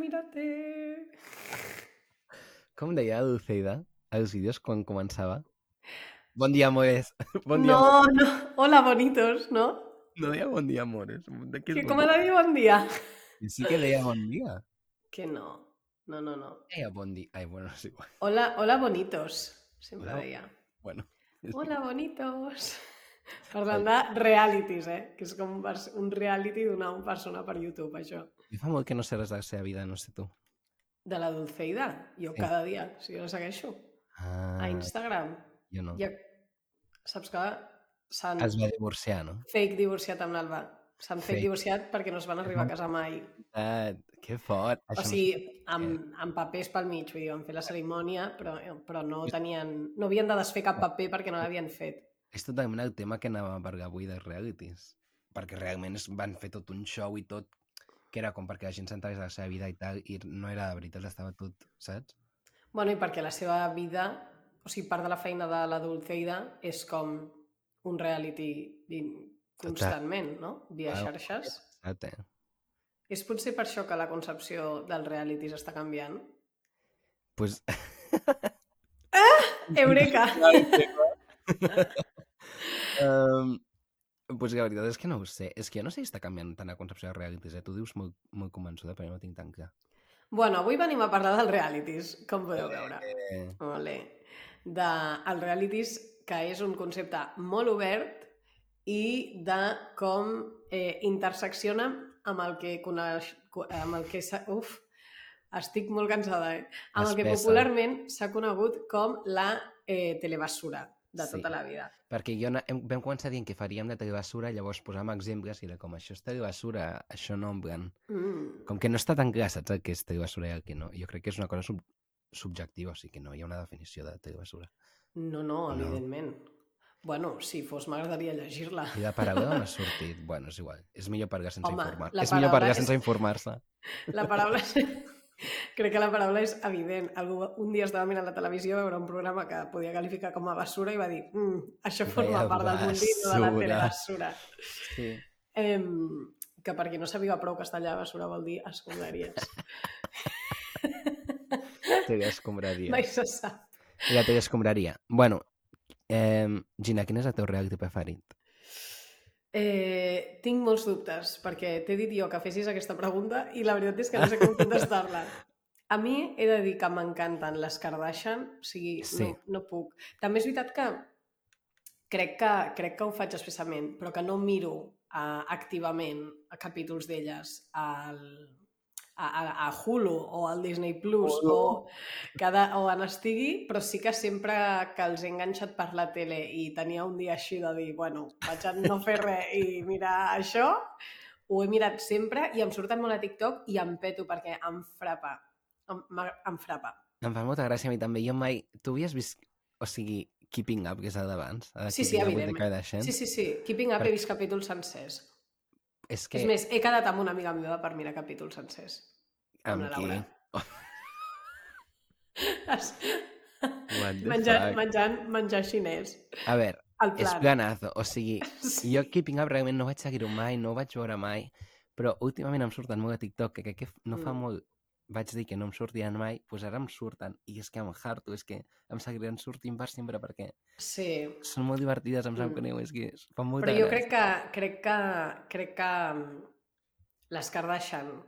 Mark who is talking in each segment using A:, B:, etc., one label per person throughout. A: Mira-te!
B: Com deia Dulceida als vídeos quan començava? Bon dia, amores. Bon dia, amor.
A: no, no. Hola, bonitos, no?
B: no deia bon dia, amores. De què
A: Que
B: és
A: com
B: bon
A: ha de dir bon dia?
B: dia? Sí que deia bon dia.
A: Que no. No, no, no.
B: Deia bon dia. Ai, bueno, és igual.
A: Hola, hola bonitos, sempre
B: Hola.
A: deia.
B: Bueno. és
A: Hola bonitos! Parlant de realities, eh? Que és com un, vers- un reality d'una persona per YouTube, això.
B: igual. Jo fa molt que no sé res de la seva vida, no sé tu.
A: De la Dulceida. Jo
B: Sí.
A: cada dia, si jo la segueixo.
B: Ah,
A: A Instagram.
B: jo no.
A: Ja... Saps que s'han
B: Es va divorciar, no?
A: fake divorciat amb l'Alba. S'han fake
B: Fake.
A: divorciat perquè no es van arribar a casar mai.
B: Ah, que fort.
A: O
B: Això Eh. em
A: sigui, amb, amb papers pel mig, vull dir, van fer la cerimònia, però, eh, però no tenien... No havien de desfer cap paper perquè no l'havien fet.
B: És totalment el tema que anava a parlar avui dels realities. Perquè realment es van fer tot un show i tot que era com perquè la gent s'entrés de la seva vida i tal, i no era de veritat, estava tot, saps?
A: Bueno, i perquè la seva vida, o sigui, part de la feina de la Dulceida és com un reality vin-
B: Total.
A: constantment, no? Via
B: Clar,
A: xarxes.
B: Saps, eh?
A: És potser per això que la concepció dels realities està canviant.
B: Pues...
A: Eureka!
B: um, pues la veritat és que no ho sé. És que jo no sé si està canviant tant la concepció de realities, eh? Tu dius molt, molt convençuda, però jo no ho tinc tan clar.
A: bueno, avui venim a parlar dels realities, com podeu veure.
B: Eh,
A: Ole. De, el realities, que és un concepte molt obert i de com eh, intersecciona amb el que coneix... co- Amb el que s'ha- uf, estic molt cansada, eh? Amb el que
B: Espessa.
A: popularment s'ha conegut com la eh, telebasura de
B: Sí.
A: tota la vida.
B: perquè jo na- hem, vam començar dient que faríem de telebasura, llavors posàvem exemples i era com, això és telebasura, això no, en plan...
A: Mm.
B: Com que no està tan clar, saps el que és telebasura i el que no. Jo crec que és una cosa sub subjectiva, o sigui que no hi ha una definició de telebasura.
A: No, no,
B: No.
A: evidentment. Bueno, si fos m'agradaria llegir-la.
B: I la paraula on ha sortit? Bueno, és igual. És millor parlar sense
A: Home,
B: informar.
A: la
B: És millor parlar
A: paraula és-
B: sense informar-se.
A: La paraula és... Crec que la paraula és evident. Algú un dia estava mirant la televisió a veure un programa que podia qualificar com a basura i va dir mm, això forma
B: Vaya
A: part del mundino de la
B: basura."
A: telebasura.
B: Sí.
A: Em, que per qui no sabia prou castellà, basura vol dir escombraries.
B: Tele escombraria.
A: Mai se sap.
B: I la tele escombraria. Bueno, eh, Gina, quin és el teu reality preferit?
A: Eh, tinc molts dubtes, perquè t'he dit jo que fessis aquesta pregunta i la veritat és que no sé com contestar-la. A mi he de dir que m'encanten les Kardashian, o sigui,
B: Sí.
A: no, no puc. També és veritat que crec que, crec que ho faig expressament, però que no miro uh, activament a capítols d'elles al, a, a, a Hulu o al Disney Plus
B: Hulu.
A: o, cada, o on estigui, però sí que sempre que els he enganxat per la tele i tenia un dia així de dir, bueno, vaig a no fer res i mirar això, ho he mirat sempre i em surten molt a TikTok i em peto perquè em frapa. Em, m'ag- em frapa.
B: Em fa molta gràcia a mi també. Jo mai... Tu havies vist... O sigui, Keeping Up, que és el d'abans? el
A: Sí, sí,
B: Keeping Up with the
A: evidentment.
B: Kardashians?
A: Sí, sí, sí. Keeping Up
B: Per-
A: he vist capítols sencers.
B: És
A: Que...
B: que...
A: És més, he quedat amb una amiga meva per mirar capítols sencers. Amb, la Laura. Es-
B: What the
A: menjant,
B: fuck?
A: menjant, menjar xinès.
B: A veure,
A: El
B: és
A: plan.
B: planazo. O sigui,
A: Sí.
B: jo Keeping Up realment no vaig seguir-ho mai, no ho vaig veure mai, però últimament em surten molt a TikTok, que crec que f- no fa
A: Mm.
B: molt vaig dir que no em sortien mai, doncs pues ara em surten, i és que em harto, és que em seguiran sortint per sempre perquè
A: sí.
B: són molt divertides, em sap
A: Mm.
B: greu, és que fan molta
A: Però jo
B: gràcia.
A: crec que, crec que, crec que mm, les Kardashian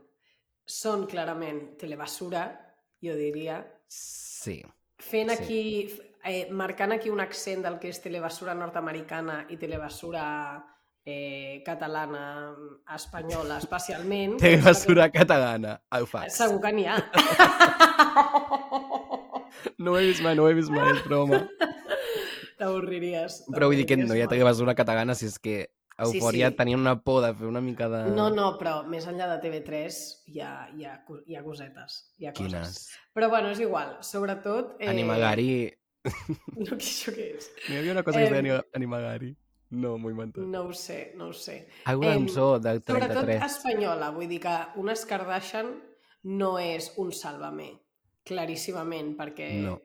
A: són clarament telebasura, jo diria,
B: Sí,
A: fent
B: Sí.
A: aquí, eh, marcant aquí un accent del que és telebasura nord-americana i telebasura eh, catalana, mm, espanyola, especialment.
B: té basura catalana, Ah, el fax.
A: Segur que n'hi ha.
B: No ho he vist mai, no ho he vist mai, és broma.
A: T'avorriries.
B: Però vull dir que no hi ha
A: t'avorriries
B: té basura catalana, si és que
A: Sí,
B: Eufòria
A: sí.
B: tenien una por de fer una mica de...
A: molt. No, no, però més enllà de TV3 hi ha, hi ha, co- hi ha cosetes, hi ha coses.
B: Quines?
A: Però bueno, és igual, sobretot...
B: Eh... Animagari,
A: No, que això què és?
B: Hi havia una cosa que es
A: Em,
B: deia anima- Animagari. No, m'ho he inventat.
A: No ho sé, no ho sé.
B: Alguna
A: em,
B: cançó del
A: Sobretot
B: 33.
A: espanyola, vull dir que una Kardashian no és un sàlvame, claríssimament, perquè,
B: No.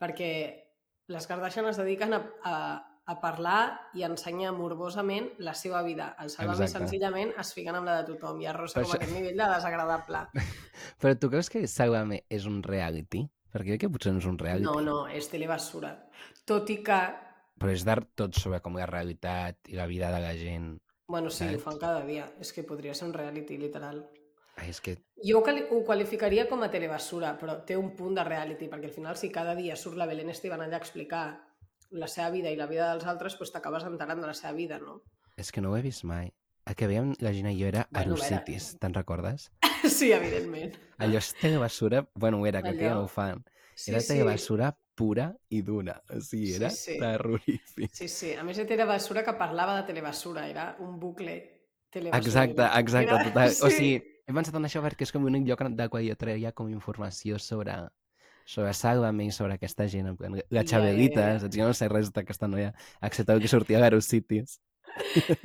A: perquè les Kardashian es dediquen a, a a parlar i a ensenyar morbosament la seva vida. El Salvami
B: Exacte.
A: senzillament es fiquen amb la de tothom i arrossa
B: Però
A: com a
B: això-
A: aquest nivell de desagradable.
B: Però tu creus que Sálvame és un reality? Perquè crec que potser no és un reality.
A: No, no, és telebasura. Tot i que,
B: Però és d'art tot sobre com la realitat i la vida de la gent.
A: bueno, sí, ho
B: Saps?
A: fan cada dia. És que podria ser un reality, literal.
B: Ai, és que...
A: Jo ho cali- ho qualificaria com a telebasura, però té un punt de reality, perquè al final si cada dia surt la Belén Esteban allà a explicar la seva vida i la vida dels altres, doncs t'acabes enterant de la seva vida, no?
B: És que no ho he vist mai. El que veiem la Gina i jo era
A: Bueno, a veure.
B: Aerocities, te'n recordes?
A: Sí, evidentment.
B: Allò és telebasura... Bueno, ho era, crec que ja no
A: Allò.
B: ho fan.
A: Sí,
B: Era
A: sí.
B: telebasura pura i dura. O sigui,
A: Sí,
B: era
A: sí.
B: terrorífic.
A: Sí, sí. A més, era telebasura que parlava de telebasura. Era un bucle telebasurero.
B: Exacte, exacte,
A: Era-
B: total. O
A: sí.
B: sigui, he pensat en això perquè és com l'únic lloc del qual jo traia com informació sobre sobre Sálvame i sobre aquesta gent, en plan, la
A: ja,
B: Chabelita,
A: ja, ja.
B: saps? Jo no sé res d'aquesta noia, excepte el que sortia a Garocities.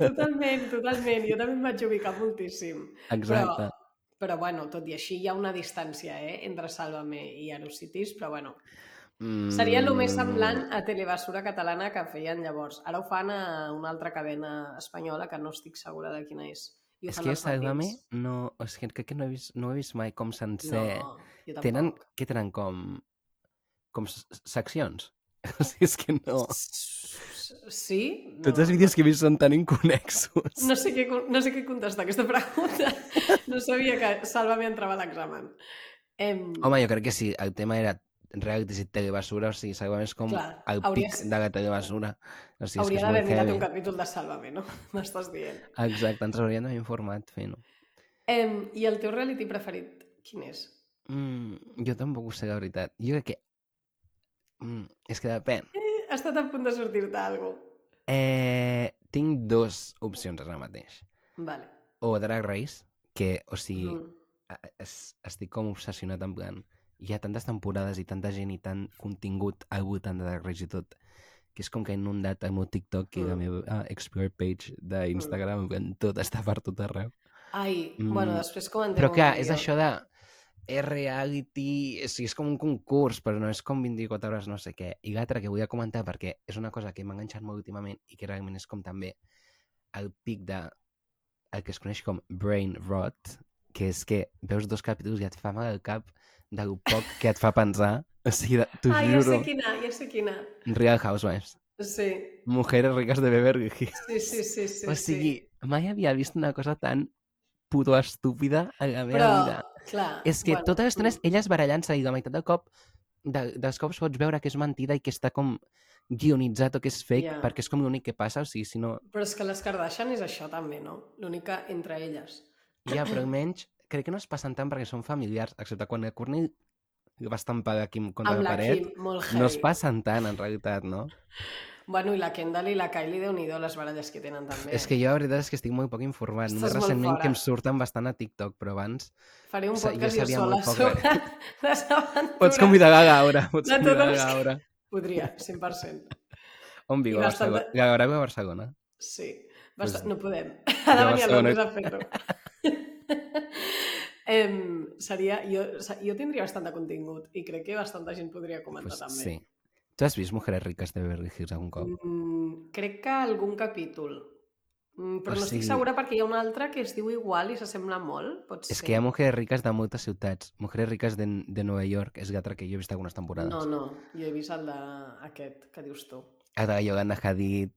A: Totalment, totalment. Jo també em vaig ubicar moltíssim.
B: Exacte.
A: Però, però bueno, tot i així hi ha una distància eh, entre Sálvame i Aerocities, però bueno,
B: Mm.
A: Seria el més semblant a Telebasura Catalana que feien llavors. Ara ho fan a una altra cadena espanyola que no estic segura de quina és. I ho
B: És
A: fan
B: que
A: als matins.
B: Sálvame no... És que crec que no he vist, no ho he vist mai com sencer.
A: No, jo tampoc.
B: tenen... Què tenen com... Com s- s- seccions? O sigui, és que no...
A: Sí? No.
B: Tots els vídeos que he vist són tan inconexos.
A: No sé, què, con- no sé què contestar a aquesta pregunta. No sabia que Sálvame entrava a l'examen. Em,
B: Home, jo crec que sí, el tema era realities i telebasura, o sigui, Sálvame és com
A: Clar,
B: el
A: hauria-
B: pic de la telebasura. O sigui,
A: hauria
B: és que
A: d'haver
B: és molt
A: mirat
B: heavy.
A: un capítol de Sálvame, no? M'estàs dient.
B: Exacte, ens haurien d'haver informat fent-ho.
A: Em, I el teu reality preferit, quin és?
B: Mm, jo tampoc ho sé, la veritat. Jo crec que... Mm, és que depèn.
A: Eh, Ha estat a punt de sortir-te alguna cosa.
B: Eh, tinc dues opcions ara mateix.
A: Vale.
B: O Drag Race, que, o sigui,
A: Mm.
B: a- es, estic com obsessionat en plan, hi ha tantes temporades i tanta gent i tant contingut al voltant de Drag Race i tot, que és com que he inundat el meu TikTok i la
A: Mm.
B: meva ah, Explore page d'Instagram, en plan, tot està per tot arreu.
A: Ai,
B: Mm,
A: mm. bueno, després comentem
B: Però
A: un
B: clar, és
A: vídeo.
B: això de és reality, o sigui, és com un concurs, però no és com 24 hores no sé què. I l'altra que vull comentar, perquè és una cosa que m'ha enganxat molt últimament i que realment és com també el pic de el que es coneix com brain rot, que és que veus dos capítols i et fa mal el cap del poc que et fa pensar. O sigui, de- t'ho
A: Ah, ja
B: juro.
A: sé quina, ja sé quina.
B: Real Housewives.
A: Sí,
B: Mujeres ricas de Beverly Hills.
A: sí, sí, sí. sí
B: o sigui, mai havia vist una cosa tan puto estúpida a la
A: sí.
B: meva
A: però,
B: vida.
A: clar...
B: És que bueno, tota l'estona és
A: mm,
B: elles barallant-se i la meitat del cop de, dels cops pots veure que és mentida i que està com guionitzat o que és fake
A: Ja.
B: yeah. perquè és com l'únic que passa, o sigui, si no...
A: Però és que les Kardashian és això també, no? L'única entre elles.
B: Ja, però almenys crec que no es passen tant perquè són familiars, excepte quan el Cornell va estampar la Kim contra
A: Amb
B: la
A: la
B: paret.
A: Kim, molt heavy.
B: No es passen tant, en realitat, no?
A: Bueno, i la Kendall i la Kylie, déu nhi les baralles que tenen també.
B: És que jo, la veritat, és que estic molt poc informat. Només
A: Estàs molt
B: recentment que em
A: fora.
B: surten bastant a TikTok, però abans...
A: Faré un
B: sa- jo
A: podcast jo,
B: sabia
A: sola
B: molt poc de-
A: sobre les aventures.
B: Pots convidar la Gaura, pots
A: De totes
B: convidar la
A: les que-
B: Gaura.
A: Podria, 100%.
B: On viu?
A: I
B: A
A: bastant
B: Barcelona. La Gaura viu a Barcelona.
A: Sí.
B: Pues-
A: Basta... No podem. Ha de venir
B: Ja
A: a
B: Barcelona.
A: Londres a fer-ho. Em, seria, jo, se- jo tindria bastant de contingut i crec que bastanta gent podria comentar
B: Pues,
A: pues, també.
B: sí. Tu has vist Mujeres ricas de Beverly Hills algun cop?
A: Mm, crec que algun capítol. Mm, però
B: O
A: no estic
B: sigui-
A: segura perquè hi ha una altra que es diu igual i s'assembla molt, pot
B: És
A: ser.
B: que hi ha Mujeres Riques de moltes ciutats. Mujeres Riques de, de Nova York és l'altra que jo he vist algunes temporades.
A: No,
B: No, no.
A: no, jo he vist el d'aquest que dius tu.
B: Ara Yolanda Hadid,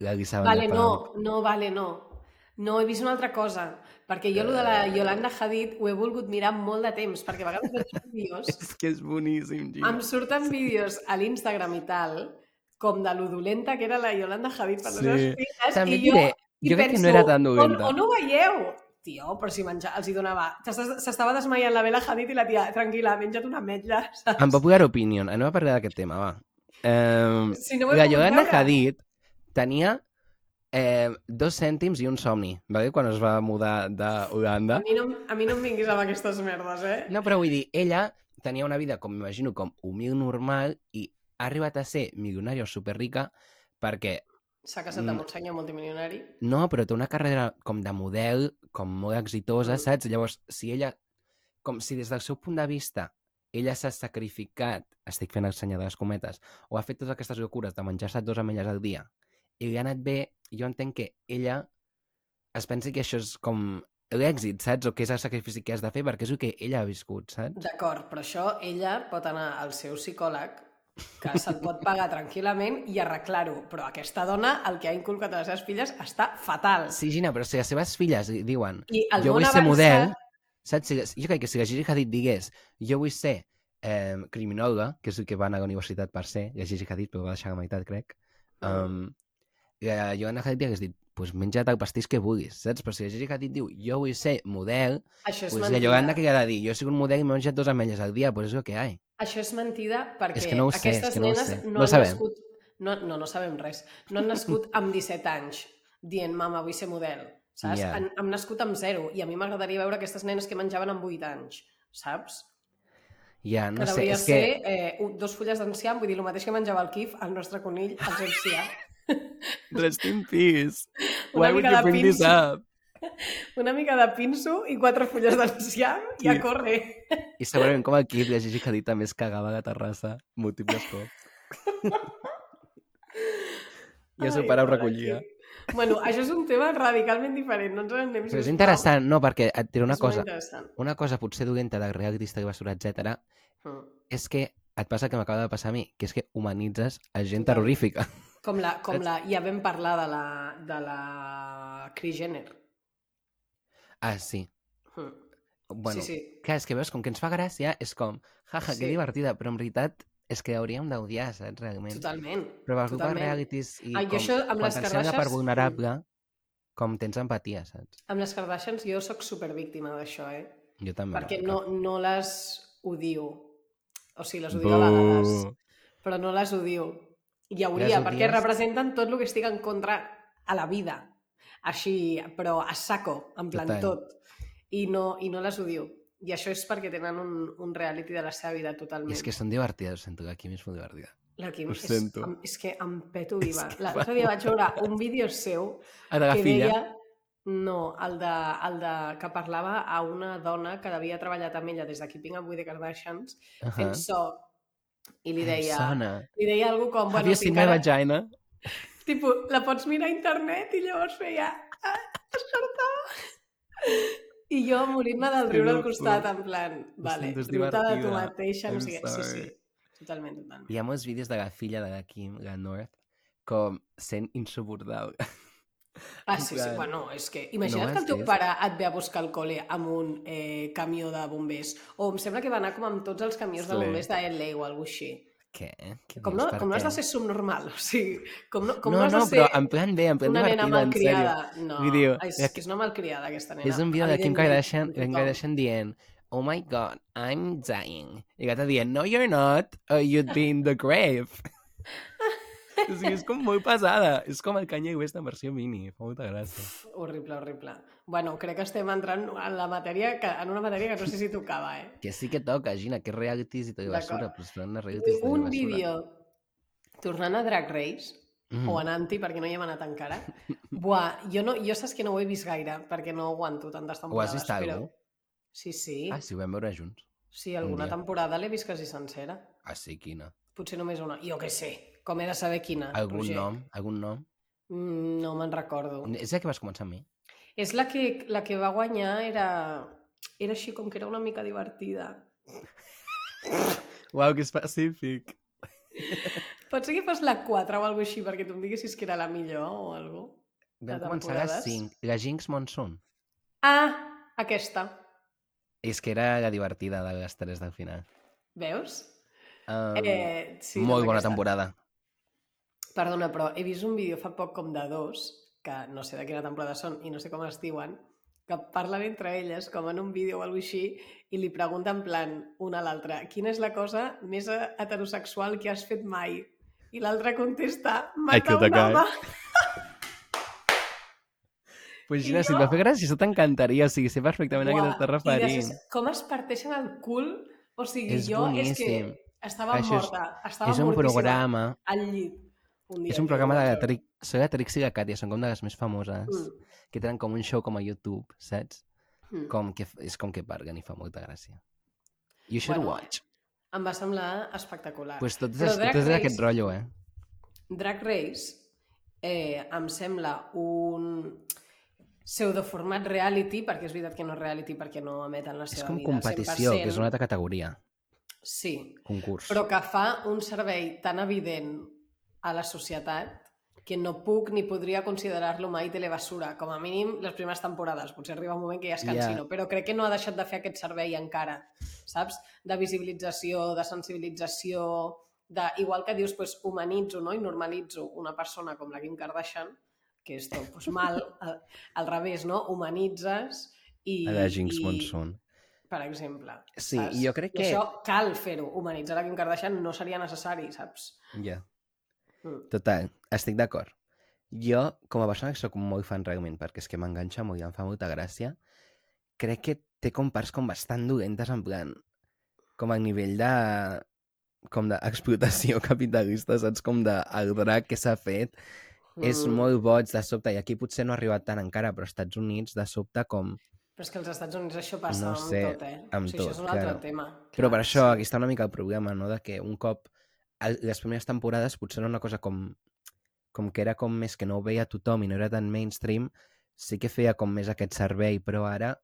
B: la Lisa
A: Vale, no, no, vale, no. No, he vist una altra cosa, perquè jo el de la
B: Eh.
A: Yolanda Hadid ho he volgut mirar molt de temps, perquè a vegades veig vídeos
B: És que és boníssim, Gina.
A: Em surten vídeos a l'Instagram i tal, com de lo dolenta que era la Yolanda Javid per les
B: Sí.
A: seves filles,
B: També
A: i
B: jo, diré,
A: i
B: jo crec que
A: penso,
B: no era tan
A: "On-
B: dolenta.
A: On, ho veieu? Tio, però si menjar, els hi donava... s'està- S'estava desmaiant la Bela Hadid i la tia, tranquil·la, menja't una ametlla, saps?
B: En Popular Opinion, anem a parlar d'aquest tema, va. Eh,
A: Si no ho he
B: la
A: pogut
B: Yolanda
A: veure.
B: Hadid tenia eh, dos cèntims i un somni, vale? quan es va mudar d'Holanda.
A: A mi, no, a mi no em vinguis amb aquestes merdes, eh?
B: No, però vull dir, ella tenia una vida, com m'imagino, com humil normal i ha arribat a ser milionària o superrica perquè,
A: S'ha casat
B: Mm.
A: amb un senyor multimilionari.
B: no, però té una carrera com de model, com molt exitosa,
A: Mm.
B: saps? Llavors, si ella, com si des del seu punt de vista ella s'ha sacrificat, estic fent el senyal de les cometes, o ha fet totes aquestes locures de menjar-se dues ametlles al dia, i li ha anat bé, jo entenc que ella es pensi que això és com l'èxit, saps? O que és el sacrifici que has de fer, perquè és el que ella ha viscut, saps?
A: D'acord, però això ella pot anar al seu psicòleg, que se'l pot pagar tranquil·lament i arreglar-ho. Però aquesta dona, el que ha inculcat a les seves filles, està fatal.
B: Sí, Gina, però si les seves filles li diuen
A: I el
B: jo
A: món
B: vull ser
A: avançat-
B: model, saps? Si, jo crec que si la Gigi Hadid digués jo vull ser eh, criminòloga, que és el que va anar a la universitat per ser, la Gigi Hadid, però va deixar a la meitat, crec, um, la Joana Hadid li hagués dit pues menja't el pastís que vulguis, saps? Però si la Gigi Hadid diu jo vull ser model,
A: Això és
B: pues la
A: mentida.
B: Joana que ha de dir jo soc un model i m'he menjat dos ametlles al dia, pues és el que hi ha.
A: Això és mentida perquè
B: És que no ho sé, és
A: aquestes
B: que no ho
A: nenes
B: sé.
A: no,
B: No
A: han
B: sabem.
A: nascut... No, no, no sabem res. No han nascut amb 17 anys dient, mama, vull ser model, saps?
B: Ja.
A: Yeah. Han, han nascut amb zero i a mi m'agradaria veure aquestes nenes que menjaven amb 8 anys, saps?
B: Ja, no
A: que
B: sé,
A: devia
B: és
A: ser
B: que...
A: eh, un- dos fulles d'enciam, vull dir, el mateix que menjava el kif, el nostre conill, el enciam.
B: Rest in peace.
A: Una Why would mica you de bring this pinso.
B: up?
A: Una mica de pinso i quatre fulles d'enciam i a
B: Sí.
A: córrer.
B: I segurament com el Kip, la Gigi Hadid també es cagava de terrassa múltiples cops. I el seu
A: Ai,
B: pare ho
A: pobre
B: recollia.
A: Kif. Bueno, això és un tema radicalment diferent, no ens n'anem
B: Però és
A: sisplau.
B: interessant, no? Perquè et diré una
A: És molt
B: cosa.
A: interessant.
B: Una cosa potser dolenta de reality, basura, etc
A: Mm.
B: és que et passa el que m'acaba de passar a mi, que és que humanitzes a gent
A: Total.
B: terrorífica.
A: Com la, com
B: Saps?
A: la, ja vam parlar de la, de la Kris Jenner.
B: Ah, sí.
A: Mm.
B: Bueno,
A: sí, sí.
B: Clar, és que veus, com que ens fa gràcia, és com, jaja,
A: Sí.
B: que divertida, però en veritat és que hauríem d'odiar, saps, realment.
A: Totalment.
B: Però per culpa de
A: totalment.
B: realities i
A: Ah, jo
B: com,
A: això amb
B: quan
A: les mm.
B: te'n sembla per
A: Kardashians-
B: vulnerable, com tens empatia, saps?
A: Amb les Kardashians jo sóc supervíctima d'això, eh?
B: Jo també.
A: Perquè
B: la
A: no,
B: veritat.
A: no les odio. O sigui, les odio a
B: Buh.
A: vegades, però no les odio. Hi hauria,
B: Les
A: perquè
B: odies?
A: representen tot el que estic en contra a la vida. Així, però a saco, en plan
B: Total.
A: tot. I no, I no les odio. I això és perquè tenen un, un reality de la seva vida totalment.
B: I és que són divertides, ho sento, aquí és molt divertida.
A: La Kim,
B: Ho
A: és,
B: sento.
A: em, és que em peto viva.
B: que
A: L'altre dia vaig veure un vídeo seu
B: A de la
A: que
B: filla,
A: deia... No, el de, el de que parlava a una dona que havia treballat amb ella des de Keeping Up with the Kardashians
B: uh
A: fent so i li deia,
B: Sona.
A: li deia algo com
B: Bueno, Have
A: bueno,
B: you seen my
A: ficarà,
B: vagina?
A: tipo, la pots mirar a internet i llavors feia ah, escartó i jo morint-me del
B: Sí,
A: riure al
B: no,
A: costat
B: no.
A: en plan, vale,
B: sento, és
A: riu-te de tu
B: divertida.
A: mateixa no
B: I'm
A: sé què, sí, sí,
B: sorry.
A: totalment, totalment
B: Hi ha molts vídeos de la filla de la Kim, la North, com sent insuportable.
A: Ah,
B: En
A: sí, sí.
B: plan,
A: Bueno, és que imagina't
B: no
A: que el teu
B: és-
A: pare et ve a buscar al col·le amb un eh, camió de bombers. O em sembla que va anar com amb tots els camions de
B: Sí.
A: bombers de LA o alguna així.
B: Què? Què
A: Com no,
B: dius? Per
A: com no has
B: què?
A: de ser subnormal, o sigui, com no, com
B: no,
A: no, has
B: no,
A: de ser
B: però en plan bé, en plan
A: una nena
B: divertida, en sèrio.
A: malcriada. No,
B: Vídeo.
A: és,
B: La-
A: és una malcriada aquesta nena.
B: És un vídeo de Kim
A: evidentment,
B: Kardashian,
A: com
B: Kim
A: tothom.
B: Kardashian dient Oh my god, I'm dying. I l'altre dient No, you're not, or you'd be in the grave. o sigui, és com molt pesada. És com el Kanye West en versió mini. Fa molta gràcia.
A: Horrible, horrible. Bueno, crec que estem entrant en la matèria que, en una matèria que no sé si tocava, eh?
B: Que sí que toca, Gina, que és realities i tot i
A: D'acord.
B: basura, però són les realities i tot i
A: Un
B: basura.
A: vídeo tornant a Drag Race,
B: Mm.
A: o anant-hi perquè no hi hem anat encara. Buah, jo, no, jo saps que no ho he vist gaire perquè no aguanto tantes
B: Ho has
A: temporades.
B: vist algú?
A: Sí, sí.
B: Ah, sí, ho vam veure junts.
A: Sí, alguna
B: dia.
A: temporada l'he vist quasi sencera.
B: Ah, sí, quina.
A: Potser només una. Jo què sé, com he de saber quina,
B: Algun
A: Roger?
B: nom? Algun nom?
A: Mm, no me'n recordo.
B: És la que vas començar amb mi?
A: És la que, la que va guanyar, era... Era així com que era una mica divertida.
B: Uau, que específic.
A: Pot ser que fos la 4 o alguna així perquè tu em diguessis que era la millor o alguna
B: Vam
A: De
B: començar a les
A: temporades.
B: 5. La Jinx Monsoon.
A: Ah, aquesta.
B: És que era la divertida de les 3 del final.
A: Veus?
B: Um,
A: Eh, sí,
B: molt
A: doncs
B: bona
A: aquesta.
B: temporada.
A: Perdona, però he vist un vídeo fa poc com de dos, que no sé de quina temporada són i no sé com es diuen, que parlen entre elles com en un vídeo o alguna cosa així i li pregunten en plan una a l'altra quina és la cosa més eh, heterosexual que has fet mai? I l'altra contesta, matar
B: killed
A: un
B: a
A: home.
B: Pues
A: I
B: Gina, si
A: jo-
B: et va fer gràcia, això t'encantaria. O sigui, sé perfectament a què
A: Buah,
B: t'estàs
A: i
B: referint.
A: després, com es parteixen el cul? O sigui,
B: És
A: jo és
B: boníssim.
A: que estava
B: Això és-
A: morta, estava
B: És un
A: mortíssima
B: programa,
A: al llit. Un dia,
B: és un
A: jo
B: programa de
A: vaig
B: la
A: veure.
B: Trix, són la Trix i la Càtia, són com de les més famoses,
A: Mm,
B: que tenen com un show com a YouTube, saps?
A: mm.
B: Com que, f- és com que parlen i fa molta gràcia. You should
A: Bueno,
B: watch.
A: em va semblar espectacular.
B: Pues tot
A: Però
B: és,
A: Drag
B: tot és d'aquest
A: Race-
B: rotllo, eh?
A: Drag Race eh, em sembla un pseudoformat reality, perquè és veritat que no és reality perquè no emeten la
B: És
A: seva
B: com
A: vida
B: competició,
A: 100%.
B: que és una altra categoria,
A: Sí,
B: concurs.
A: però que fa un servei tan evident a la societat que no puc ni podria considerar-lo mai telebasura, com a mínim les primeres temporades. Potser arriba un moment que ja es
B: Ja.
A: cansino, però crec que no ha deixat de fer aquest servei encara, saps? De visibilització, de sensibilització, de, igual que dius, pues, humanitzo no? i normalitzo una persona com la Kim Kardashian, que és tot pues, mal, al, al revés, no? Humanitzes i...
B: A la Jinx
A: i-
B: Monsoon.
A: per exemple.
B: Sí,
A: saps?
B: jo crec
A: I
B: que-
A: això cal fer-ho. Humanitzar a Kim Kardashian no seria necessari, saps?
B: Ja.
A: Mm.
B: Total, estic d'acord. Jo, com a persona que sóc molt fan realment, perquè és que m'enganxa molt i em fa molta gràcia, crec que té com parts com bastant dolentes, en plan, com a nivell de com d'explotació capitalista, saps? Com de el drac que s'ha fet. Mm. És
A: Mm.
B: molt boig de sobte, i aquí potser no ha arribat tant encara, però als Estats Units de sobte com...
A: Però és que als Estats Units això passa
B: No sé,
A: amb tot, eh?
B: amb
A: o sigui, això és
B: tot,
A: un altre
B: claro.
A: tema.
B: Però per
A: clar,
B: això
A: sí.
B: aquí està una mica el problema, no? De que un cop el- les primeres temporades potser era una cosa com com que era com més que no ho veia tothom i no era tan mainstream, sí que feia com més aquest servei, però ara...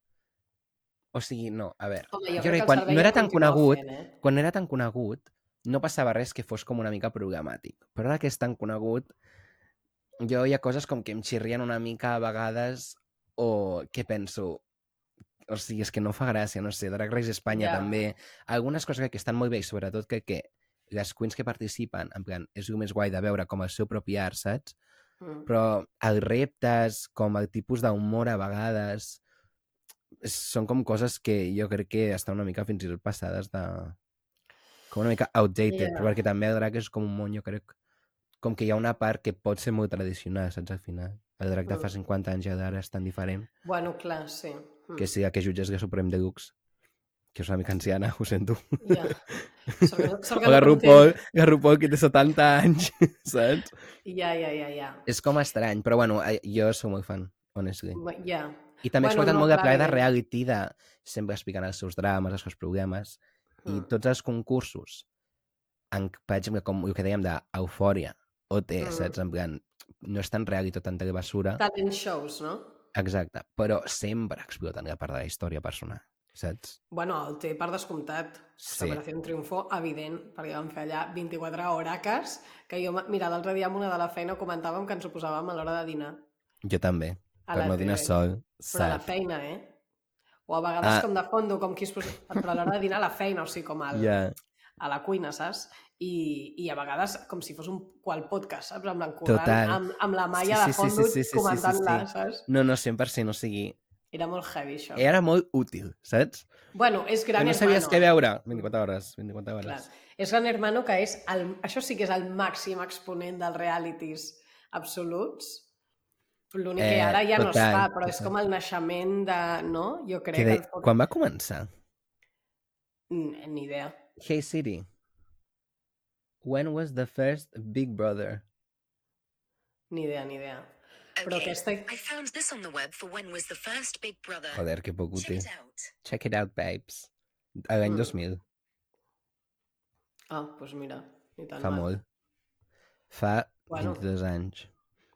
B: O sigui, no, a veure,
A: Home,
B: jo crec que
A: el
B: quan
A: servei
B: no era
A: el
B: tan
A: continua
B: conegut,
A: Fent, eh?
B: quan era tan conegut, no passava res que fos com una mica problemàtic. Però ara que és tan conegut, jo hi ha coses com que em xirrien una mica a vegades o que penso... O sigui, és que no fa gràcia, no sé, Drag Race
A: Ja.
B: Espanya yeah. també. Algunes coses crec que estan molt bé i sobretot crec que les queens que participen, en plan, és el més guai de veure com el seu propi art, saps?
A: Mm.
B: Però els reptes, com el tipus d'humor a vegades, és- són com coses que jo crec que estan una mica fins i tot passades de... com una mica outdated,
A: Ja.
B: yeah. perquè també el drac és com un món, jo crec, com que hi ha una part que pot ser molt tradicional, saps, al final. El drac de fa
A: Mm.
B: 50 anys i el d'ara és tan diferent
A: Bueno, clar, sí. Mm.
B: que si que jutges que Suprem Deluxe, que és una mica anciana, ho sento.
A: Ja. Sort que, sort que no
B: O la
A: comptem.
B: RuPaul, la RuPaul que té 70 anys, saps?
A: Ja, ja, ja, ja.
B: És com estrany, però bueno, eh, jo sóc molt fan, honestly.
A: Bé, Ja.
B: I
A: Bueno,
B: també bueno, exploten
A: no,
B: molt
A: clar,
B: de
A: eh.
B: plaer de
A: evident.
B: reality, de sempre explicant els seus drames, els seus problemes, mm. i
A: Mm.
B: tots els concursos, en, per exemple, com el que dèiem d'eufòria, OT,
A: Mm.
B: mm. saps? En plan, no és tan real i tot tan telebasura,
A: Talent shows, no?
B: exacte, però sempre exploten la part de la història personal, saps?
A: Bueno, el té per descomptat.
B: Sí.
A: Sí. Operació Triunfo, evident, perquè vam fer allà 24 horaques, que jo, mira, l'altre dia amb una de la feina comentàvem que ens ho posàvem a l'hora de dinar.
B: Jo també,
A: A
B: per
A: la
B: no dinar
A: tele.
B: sol,
A: Però a la
B: saps?
A: feina, eh? O a vegades
B: Ah.
A: ah. com de fondo, com qui es posa... Però a l'hora de dinar a la feina, o sigui, com al, yeah.
B: Ja,
A: a la cuina, saps? I, I a vegades com si fos un qual podcast, saps? Amb l'encorrant,
B: Total.
A: amb, amb la malla sí, sí, de fondo sí, sí, sí,
B: sí,
A: comentant-la,
B: sí, sí.
A: saps?
B: No, no, 100%, o sigui,
A: Era molt heavy, això. Era...
B: era molt útil, saps?
A: Bueno, és
B: Que
A: Gran
B: no
A: Hermano.
B: sabies què veure. 24 hores, 24 hores.
A: Clar. És Gran Hermano que és el, això sí que és el màxim exponent dels realities absoluts. L'únic
B: Eh,
A: que ara ja no
B: total,
A: es fa, però és
B: total.
A: com el naixement de... No? Jo crec
B: Que
A: que...
B: de...
A: el foc-
B: Quan va començar?
A: Mm, Ni idea.
B: Hey City. When was the first Big Brother?
A: Ni idea, ni idea. Però
C: Okay,
A: aquesta...
C: I found this on the web for when was the first Big Brother.
B: Joder, que poc
C: Check
B: útil.
C: it out.
B: Check it out, babes. A l'any
A: Mm.
B: 2000.
A: Ah, doncs pues mira, ni tan
B: Fa
A: mal.
B: molt. Fa
A: Bueno.
B: 22 anys.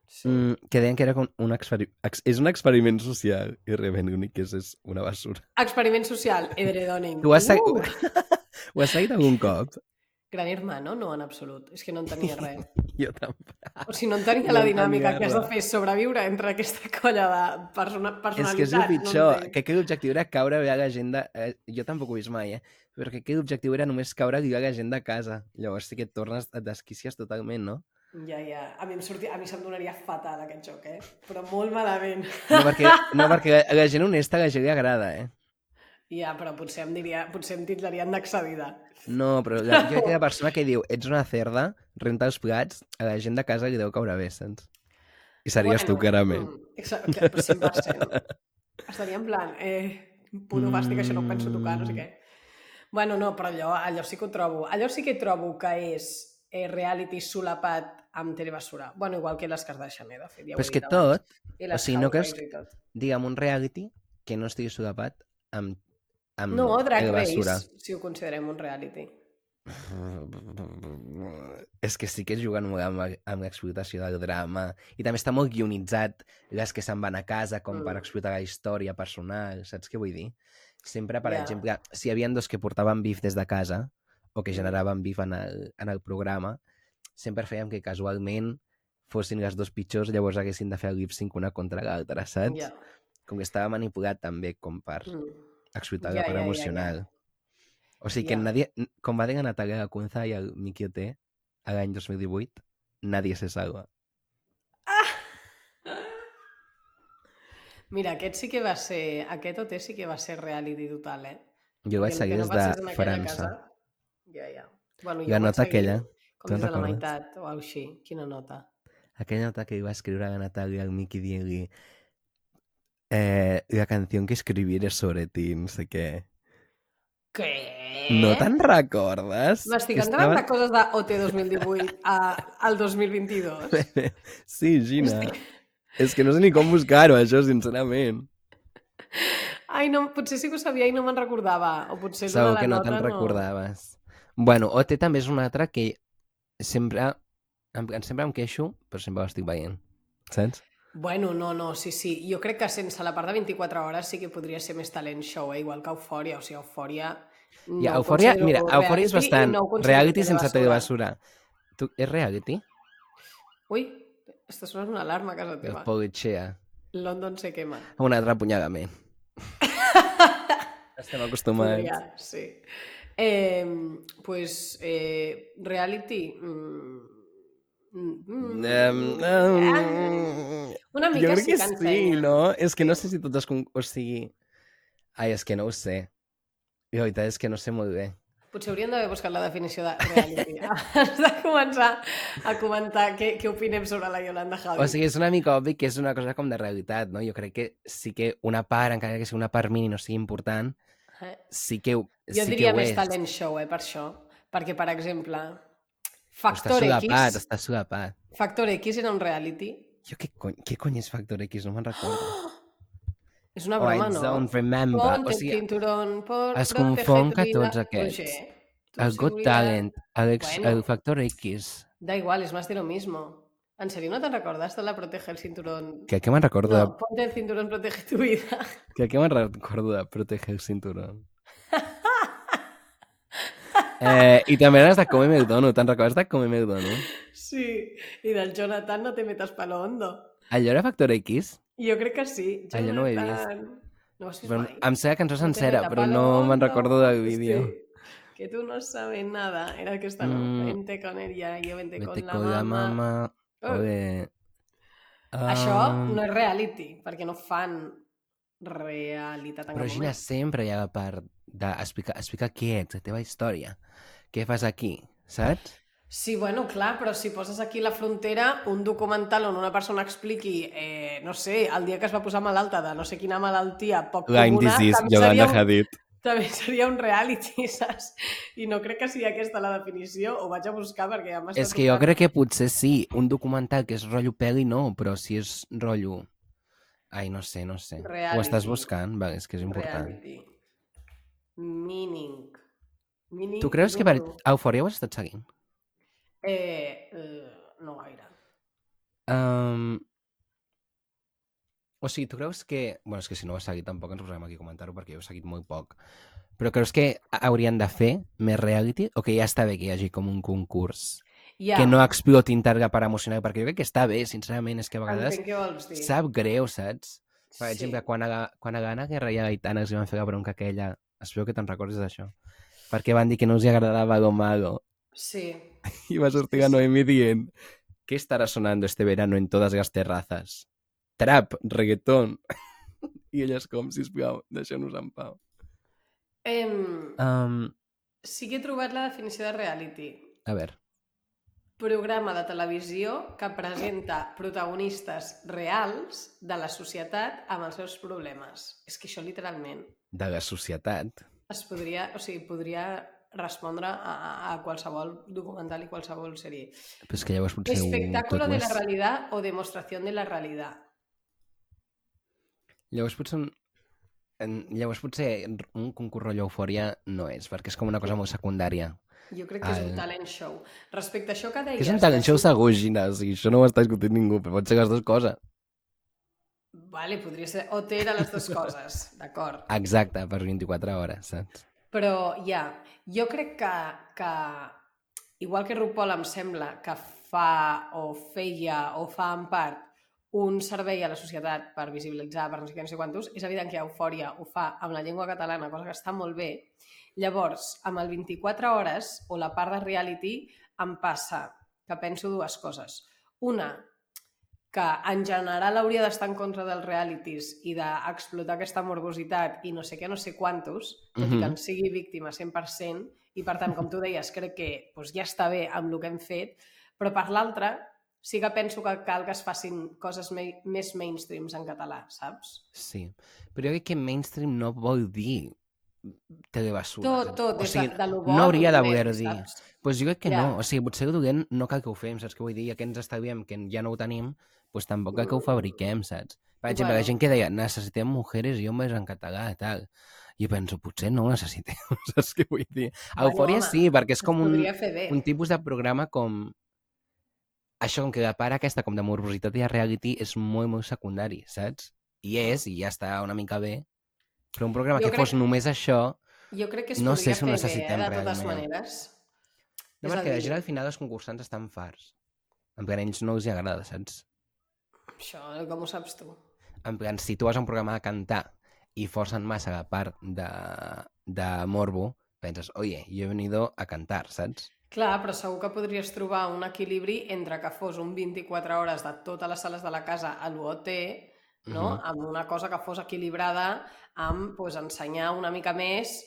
A: Sí. Mm.
B: Mm, que deien que era com un experiment... És un experiment social i realment l'únic que és és una basura.
A: Experiment social, edredoning.
B: Ho has,
A: Uh!
B: uh! ho has seguit algun cop?
A: Gran hermano, no en absolut. És que no entenia res.
B: Jo tampoc.
A: O sigui, no entenia
B: No
A: la
B: entenia
A: dinàmica que has de
B: res.
A: fer sobreviure entre aquesta colla de persona
B: És
A: personalitats.
B: que és el pitjor.
A: No entenc.
B: crec que l'objectiu era caure bé a la gent de... Eh, jo tampoc ho he vist mai, eh? Però crec que l'objectiu era només caure bé a la gent de casa. Llavors sí que et tornes, et desquicies totalment, no?
A: Ja, ja. A mi, em sorti... a mi se'm donaria fatal aquest joc, eh? Però molt malament.
B: No, perquè, no, perquè a la gent honesta a la gent li agrada, eh?
A: Ja, però potser em, diria... potser em titlarien d'excedida.
B: No, però la, jo crec que la persona que diu ets una cerda, renta els plats, a la gent de casa li deu caure bé, saps? I series bueno, tu, clarament.
A: mm, Exacte, però 100%. Estaria en plan, eh, puto bàstic, això no ho penso tocar, no sé
B: Mm.
A: què. Bueno, no, però allò, allò sí que ho trobo. Allò sí que trobo que és eh, reality solapat amb telebasura. Bueno, igual que les Kardashian, eh, de fet. Ja ho
B: Però
A: he
B: és que
A: dit abans.
B: tot,
A: I
B: o
A: les
B: sigui, no creus-
A: Housewives i tot.
B: digue'm, un reality que no estigui sodapat amb, amb
A: No, Drag
B: la
A: Race,
B: basura.
A: si ho considerem un reality.
B: És que sí que és jugant molt amb, la- amb l'explotació del drama i també està molt guionitzat les que se'n van a casa com per
A: Mm.
B: explotar la història personal, saps què vull dir? Sempre, per
A: Ja.
B: exemple, si hi havia dos que portaven bif des de casa o
A: Mm.
B: que generaven bif en el, en el programa, sempre fèiem que casualment fossin les dos pitjors, llavors haguessin de fer el lip sync una contra l'altra, saps?
A: Ja.
B: Com que estava manipulat també com per
A: Mm.
B: explotar
A: Ja,
B: la part
A: ja, ja, ja.
B: emocional. O sigui que
A: Ja.
B: nadie, n- com va dir la Natalia Lacunza i el Miki Oté a l'any 2018, nadie se salva.
A: Mira, aquest sí que va ser... Aquest OT sí que va ser reality total, eh?
B: Jo el vaig
A: I el
B: seguir
A: que
B: des
A: passes en
B: de
A: aquella
B: França.
A: casa- Ja, ja. Bueno, jo
B: La
A: ho vaig
B: nota
A: seguir
B: aquella,
A: Com
B: te'n
A: des de la
B: recordes?
A: meitat o així. Quina nota.
B: aquella nota que iba a escribir a la Natalia al Miki Diegui, eh, la canción que escribir es sobre ti, no sé qué.
A: Què? ¿Eh?
B: ¿No tan recordas?
A: M'estic
B: Que
A: entrant
B: estava-
A: de coses de OT 2018 a, al 2022.
B: Sí, Gina. És que no sé ni com buscar-ho, això, sincerament.
A: Ai, no, potser sí que ho sabia i no me'n recordava. O potser el de
B: Segur
A: la
B: que no
A: nota
B: te'n recordaves. Bueno, OT també és una altra que sempre... Em, em- sempre em queixo, però sempre ho estic veient. Saps?
A: Bueno, no, no, sí, sí. Jo crec que sense la part de 24 hores sí que podria ser més talent show, eh? igual que Eufòria. O sigui, Eufòria... No
B: Ja,
A: ho
B: Eufòria,
A: considero
B: mira, Eufòria
A: reality
B: és
A: i
B: bastant...
A: no ho considero
B: reality sense
A: telebasura.
B: telebasura. Tu, és reality?
A: Ui, està sonant una alarma a casa
B: El
A: teva.
B: Politxea.
A: London se quema.
B: Un altre apunyagament. Estem acostumats.
A: Podria, sí. Eh, pues, eh, reality... Mm, mm,
B: Em,
A: eh,
B: em,
A: una mica eh?
B: jo crec que
A: sí que
B: sí, no? És que no sé si tots els... con- O sigui... Ai, és que no ho sé. I la veritat és que no sé molt bé.
A: Potser hauríem d'haver buscat la definició de reality. Has de començar a comentar què, què opinem sobre la Yolanda Javi.
B: O sigui, és una mica obvi que és una cosa com de realitat, no? Jo crec que sí que una part, encara que sigui una part mini no sigui important,
A: eh?
B: sí que, ho-
A: Jo
B: sí
A: diria
B: que ho
A: més
B: és.
A: talent show, eh, per això. Perquè, per exemple,
B: Però Està
A: Factor
B: solapat,
A: X,
B: està solapat.
A: Factor X era un reality.
B: Jo què cony, què cony és Factor X? No me'n recordo.
A: És una
B: O
A: broma,
B: It's
A: no?
B: Don't Remember.
A: Ponte
B: o
A: el
B: sigui,
A: cinturón por
B: es
A: proteger tu
B: confon que
A: vida.
B: tots aquests.
A: Roger, tu
B: el Got
A: seguridad.
B: Talent, el, ex,
A: Bueno.
B: el Factor X...
A: Da igual, es más de lo mismo. ¿En serio no te recordaste la protege el cinturón?
B: Que, que me'n recordo,
A: No,
B: no.
A: ponte el cinturón, protege tu vida.
B: que, que me'n recordo de proteger el cinturón. eh, I també eres de Come Meu Dono, te'n recordes de Come Meu Dono?
A: Sí, y del Jonathan no te metas palo hondo.
B: Allò era Factor X?
A: Yo creo que sí.
B: Ah, yo no lo he
A: Jonathan. No, si es
B: Però
A: guay.
B: em sé la cançó
A: No te
B: sencera,
A: metas
B: però
A: palo
B: no me'n
A: hondo.
B: recordo del vídeo.
A: Sí, Que tú no sabes nada. Era el que estaba.
B: Mm.
A: Vente con ella, yo vente,
B: Vete
A: con, la mamá. Oh.
B: Ole.
A: Això
B: Ah,
A: no és reality, perquè no fan realitat en
B: Però
A: cap
B: Gina,
A: moment.
B: sempre hi ha la part d'explicar explicar qui ets, la teva història. Què fas aquí, saps?
A: Sí, bueno, clar, però si poses aquí la frontera, un documental on una persona expliqui, eh, no sé, el dia que es va posar malalta de no sé quina malaltia poc comuna, també seria, un,
B: Hadid.
A: també seria un reality, saps? I no crec que sigui aquesta la definició, ho vaig a buscar perquè ja m'està...
B: És que jo crec que potser sí, un documental que és rotllo peli no, però si és rotllo... Ai, no sé, no sé. Ho estàs
A: Reality.
B: buscant? Va, és que és important.
A: Reality. Meaning. Meaning
B: Tu creus que per Eufòria ho has estat seguint?
A: Eh, eh, no gaire.
B: Um, o sigui, tu creus que... bueno, és que si no ho has seguit tampoc ens posarem aquí a comentar-ho perquè jo he seguit molt poc. Però creus que ha- haurien de fer més reality o que ja està bé que hi hagi com un concurs?
A: Ja.
B: Yeah. Que no explotin targa per emocionar? Perquè jo crec que està bé, sincerament, és que a vegades
A: Entenc què vols dir.
B: sap greu, saps? Per
A: Sí.
B: exemple, quan a, la- quan a Gana Guerra i a Gaitana els van fer la bronca aquella, espero que te'n recordes d'això, perquè van dir que no els hi agradava lo malo.
A: Sí.
B: Y va a sortir a Noemi dient ¿Qué estará sonando este verano en todas las terrazas? Trap, reggaetón. I ella és com, sisplau, deixeu-nos en pau.
A: Em,
B: Um,
A: sí que he trobat la definició de reality.
B: a veure,
A: Programa de televisió que presenta protagonistes reals de la societat amb els seus problemes. És que això literalment
B: de la societat.
A: es podria, o sigui, podria respondre a, a qualsevol documental i qualsevol sèrie.
B: Però és que llavors potser ho-
A: Espectáculo
B: tot ho
A: de la
B: és.
A: realidad o demostración de la realidad.
B: Llavors potser... un- en- Llavors potser un concurs rotllo eufòria no és, perquè és com una cosa molt secundària.
A: Jo crec que és un
B: Ai.
A: talent show. Respecte a això que deies...
B: Ah, Que és un talent
A: de
B: show
A: sortir-
B: segur, Gina. O sigui, això no ho està discutint ningú, però pot ser les dues coses.
A: Vale, podria ser... O té de les dues coses, d'acord.
B: Exacte, per 24 hores, saps?
A: Però ja, jo crec que, que igual que RuPaul em sembla que fa o feia o fa en part un servei a la societat per visibilitzar, per no sé què, no sé quantos, és evident que Eufòria ho fa amb la llengua catalana, cosa que està molt bé. Llavors, amb el 24 hores o la part de reality em passa que penso dues coses. Una, que en general hauria d'estar en contra dels realities i d'explotar aquesta morbositat i no sé què, no sé quantos, tot i
B: Mhm.
A: que en sigui víctima 100%, i per tant, com tu deies, crec que doncs, ja està bé amb el que hem fet, però per l'altra, sí que penso que cal que es facin coses me més mainstreams en català, saps?
B: Sí. Però jo crec que mainstream no vol dir telebasura.
A: Tot, tot,
B: o
A: des
B: sigui,
A: de, de lo bo...
B: no hauria
A: a
B: de
A: lo
B: voler
A: dolent,
B: dir.
A: saps?
B: Pues jo crec que
A: Ja.
B: no. O sigui, potser el dolent no cal que ho fem, saps què vull dir? Ja que ens estalviem, que ja no ho tenim, doncs tampoc cal que ho fabriquem, saps? Per exemple,
A: Mm. Bueno.
B: la gent que deia, necessitem mujeres i homes en català, tal. I penso, potser no ho necessitem, saps què vull dir?
A: Bueno,
B: Eufòria
A: home,
B: sí, perquè
A: Es
B: és com un,
A: podria fer bé.
B: un tipus de programa com... Això, com que la part aquesta, com de morbositat i de reality, és molt, molt secundari, saps? I és, i ja està una mica bé, però un programa
A: Ah. Jo
B: jo que
A: crec-
B: crec... fos només això...
A: Jo crec que es
B: no
A: podria
B: sé si ho
A: fer
B: necessitem
A: bé, eh, de totes
B: realment.
A: maneres.
B: No,
A: És a
B: perquè la
A: dir-
B: gent al final els concursants estan farts. En plan, a ells no els hi agrada, saps?
A: Això, com ho saps tu?
B: En plan, si tu vas a un programa de cantar i forcen massa la part de, de morbo, penses, oye, yo he venido a cantar, saps?
A: Clar, però segur que podries trobar un equilibri entre que fos un 24 hores de totes les sales de la casa a l'UOT, no?
B: Mhm.
A: Amb una cosa que fos equilibrada amb pues, ensenyar una mica més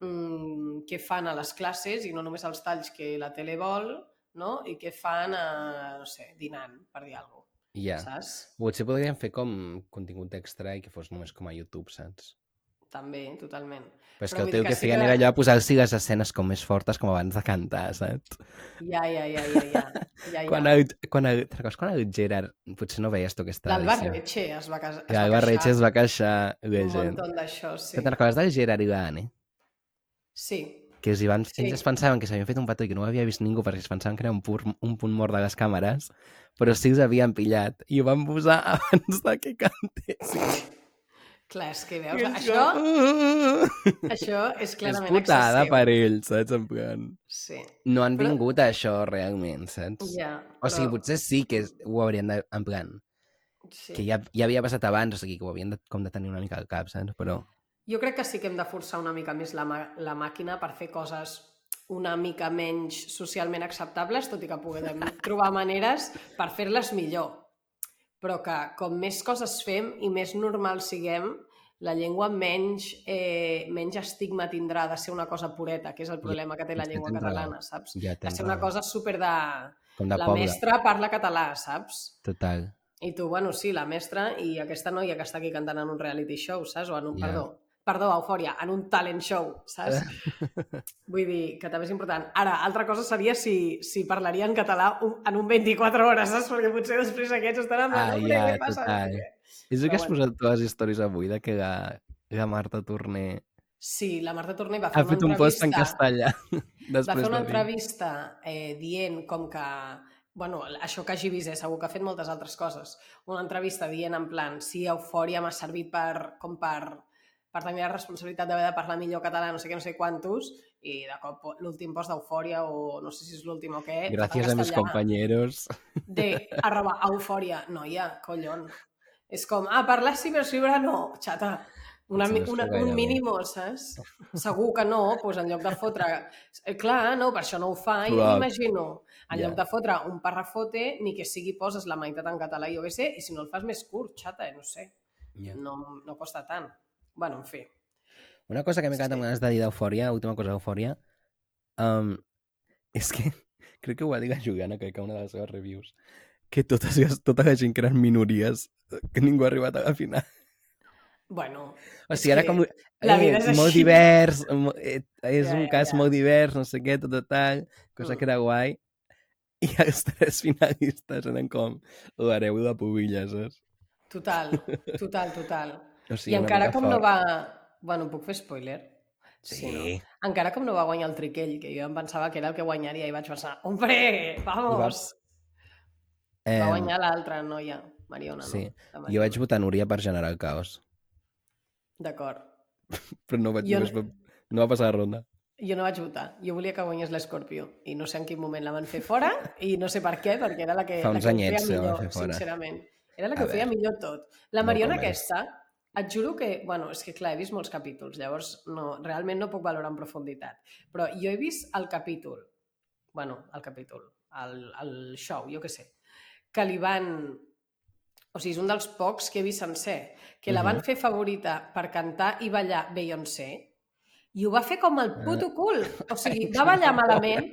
A: mm, què fan a les classes i no només els talls que la tele vol, no? I què fan, a, no sé, dinant, per dir alguna cosa,
B: I ja.
A: saps?
B: Potser podríem fer com contingut extra i que fos només com a YouTube, saps?
A: També, totalment.
B: Però és
A: Però
B: que
A: vull
B: el
A: dir
B: teu
A: que
B: que
A: sí
B: feien
A: que-
B: era allò de posar-s'hi les escenes com més fortes com abans de cantar, saps?
A: Ja, ja, ja, ja, ja. ja,
B: Quan
A: ja.
B: el, quan el, te'n recordes quan el Gerard... Potser no veies tu aquesta
A: L'Albert Reche es va, cas- es va
B: L'Albert Reche
A: queixar
B: es va queixar,
A: un
B: legend.
A: munt d'això, sí.
B: Que te'n recordes del Gerard i l'Anne?
A: Sí,
B: que es van,
A: Sí.
B: ells es pensaven que s'havien fet un petó i que no ho havia vist ningú perquè es pensaven que era un, pur, un punt mort de les càmeres, però sí us havien pillat i ho van posar abans de que cantessin.
A: clar, és que
B: I
A: veus,
B: és
A: això,
B: com,
A: Això és
B: És
A: clarament
B: putada
A: excessiu.
B: per ells, saps? En plan...
A: Sí,
B: No han
A: Però-
B: vingut a això realment, saps?
A: ja.
B: O sigui,
A: però-
B: potser sí que és- ho haurien de... En plan,
A: sí.
B: que ja, ja havia passat abans, o sigui, que ho havien de, com de tenir una mica al cap, saps? Però...
A: Jo crec que sí que hem de forçar una mica més la, mà- la màquina per fer coses una mica menys socialment acceptables, tot i que puguem trobar maneres per fer-les millor. Però que com més coses fem i més normal siguem, la llengua menys, eh, menys estigma tindrà de ser una cosa pureta, que és el problema que té la
B: és que
A: llengua
B: tens raó.
A: catalana, saps?
B: Ja
A: De
B: tens
A: ser una
B: raó.
A: cosa super de...
B: Com de
A: La
B: poble,
A: mestra parla català, saps?
B: total.
A: I tu, bueno, sí, la mestra i aquesta noia que està aquí cantant en un reality show, saps? O en un,
B: Ja.
A: perdó, perdó, eufòria, en un talent show, saps? Vull dir que també és important. Ara, altra cosa seria si, si parlaria en català un- en un 24 hores, saps? Perquè potser després aquests estaran...
B: Ah,
A: "No,
B: ja,
A: què passa?"
B: total. És el
A: Però
B: que has
A: bueno.
B: posat tu a les històries avui, de que la, la Marta Torné
A: Sí, la Marta Torner va fer
B: ha
A: una
B: fet un post en
A: entrevista-
B: castellà.
A: va fer
B: Després
A: una
B: de dir.
A: entrevista eh, dient com que... Bueno, això que hagi vist, eh, segur que ha fet moltes altres coses. Una entrevista dient en plan, sí, eufòria m'ha servit per, com per, per tenir la responsabilitat d'haver de parlar millor català, no sé què, no sé quantos, i de cop po- l'últim post d'eufòria o no sé si és l'últim o què...
B: Gràcies a mis compañeros.
A: De arroba eufòria, noia, collon. És com, ah, parlar sí, però sí, però no, xata. Una,
B: Sí,
A: mi-
B: no es
A: una,
B: fa
A: un
B: gaire bé.
A: mínimo, saps? Segur que no, doncs en lloc de fotre... Eh, Clar, no, per això no ho fa, i
B: Clar.
A: m'imagino. En
B: Ja.
A: lloc de fotre un parrafote, ni que sigui poses la meitat en català, jo què sé, i si no el fas més curt, xata, eh, no sé.
B: Ja.
A: No, no costa tant. bueno, en fi.
B: Una cosa que m'he quedat amb ganes de dir d'eufòria, última cosa d'eufòria, um, és que crec que ho va dir la Juliana, crec que a una de les seves reviews, que totes, les- tota la gent que eren minories, eh, que ningú ha arribat a la final.
A: Bueno,
B: O
A: És
B: sigui, ara
A: que
B: com...
A: la vida és
B: molt
A: així.
B: divers, mo- eh, és
A: Ja,
B: un
A: ja,
B: cas
A: ja.
B: molt divers, no sé què, tot, tot tal, cosa
A: Mm.
B: que era guai. I els tres finalistes eren com l'hereu de Pubilla, saps?
A: total, total, total.
B: O
A: Sí, I
B: una
A: encara
B: mica
A: com no
B: fort.
A: va... Bueno, puc fer spoiler? Sí, Encara com no va guanyar el triquell, que jo em pensava que era el que guanyaria i vaig pensar, hombre, vamos! Va,
B: Em,
A: guanyar l'altra noia, Mariona,
B: sí.
A: no? La
B: Jo vaig
A: Mariona.
B: votar Núria per generar el caos,
A: D'acord.
B: però no, vaig,
A: Jo
B: jo...
A: no-
B: no, es va, no va passar la ronda.
A: Jo no vaig votar. Jo volia que guanyés l'Escorpió. I no sé en quin moment la van fer fora i no sé per què, perquè era la que,
B: Fa
A: la
B: uns
A: que ho
B: anyets
A: feia
B: la van
A: millor,
B: fer fora.
A: sincerament. Era la
B: A
A: que ho feia
B: veure.
A: millor tot. La
B: No
A: Mariona
B: convenç.
A: aquesta, et juro que... Bueno, és que clar, he vist molts capítols, llavors no, realment no puc valorar en profunditat. Però jo he vist el capítol, bueno, el capítol, el, el show, jo què sé, que li van... O sigui, és un dels pocs que he vist sencer, que la van
B: Mhm.
A: fer favorita per cantar i ballar Beyoncé, i ho va fer com el
B: Eh.
A: puto cul. O sigui, va ballar malament,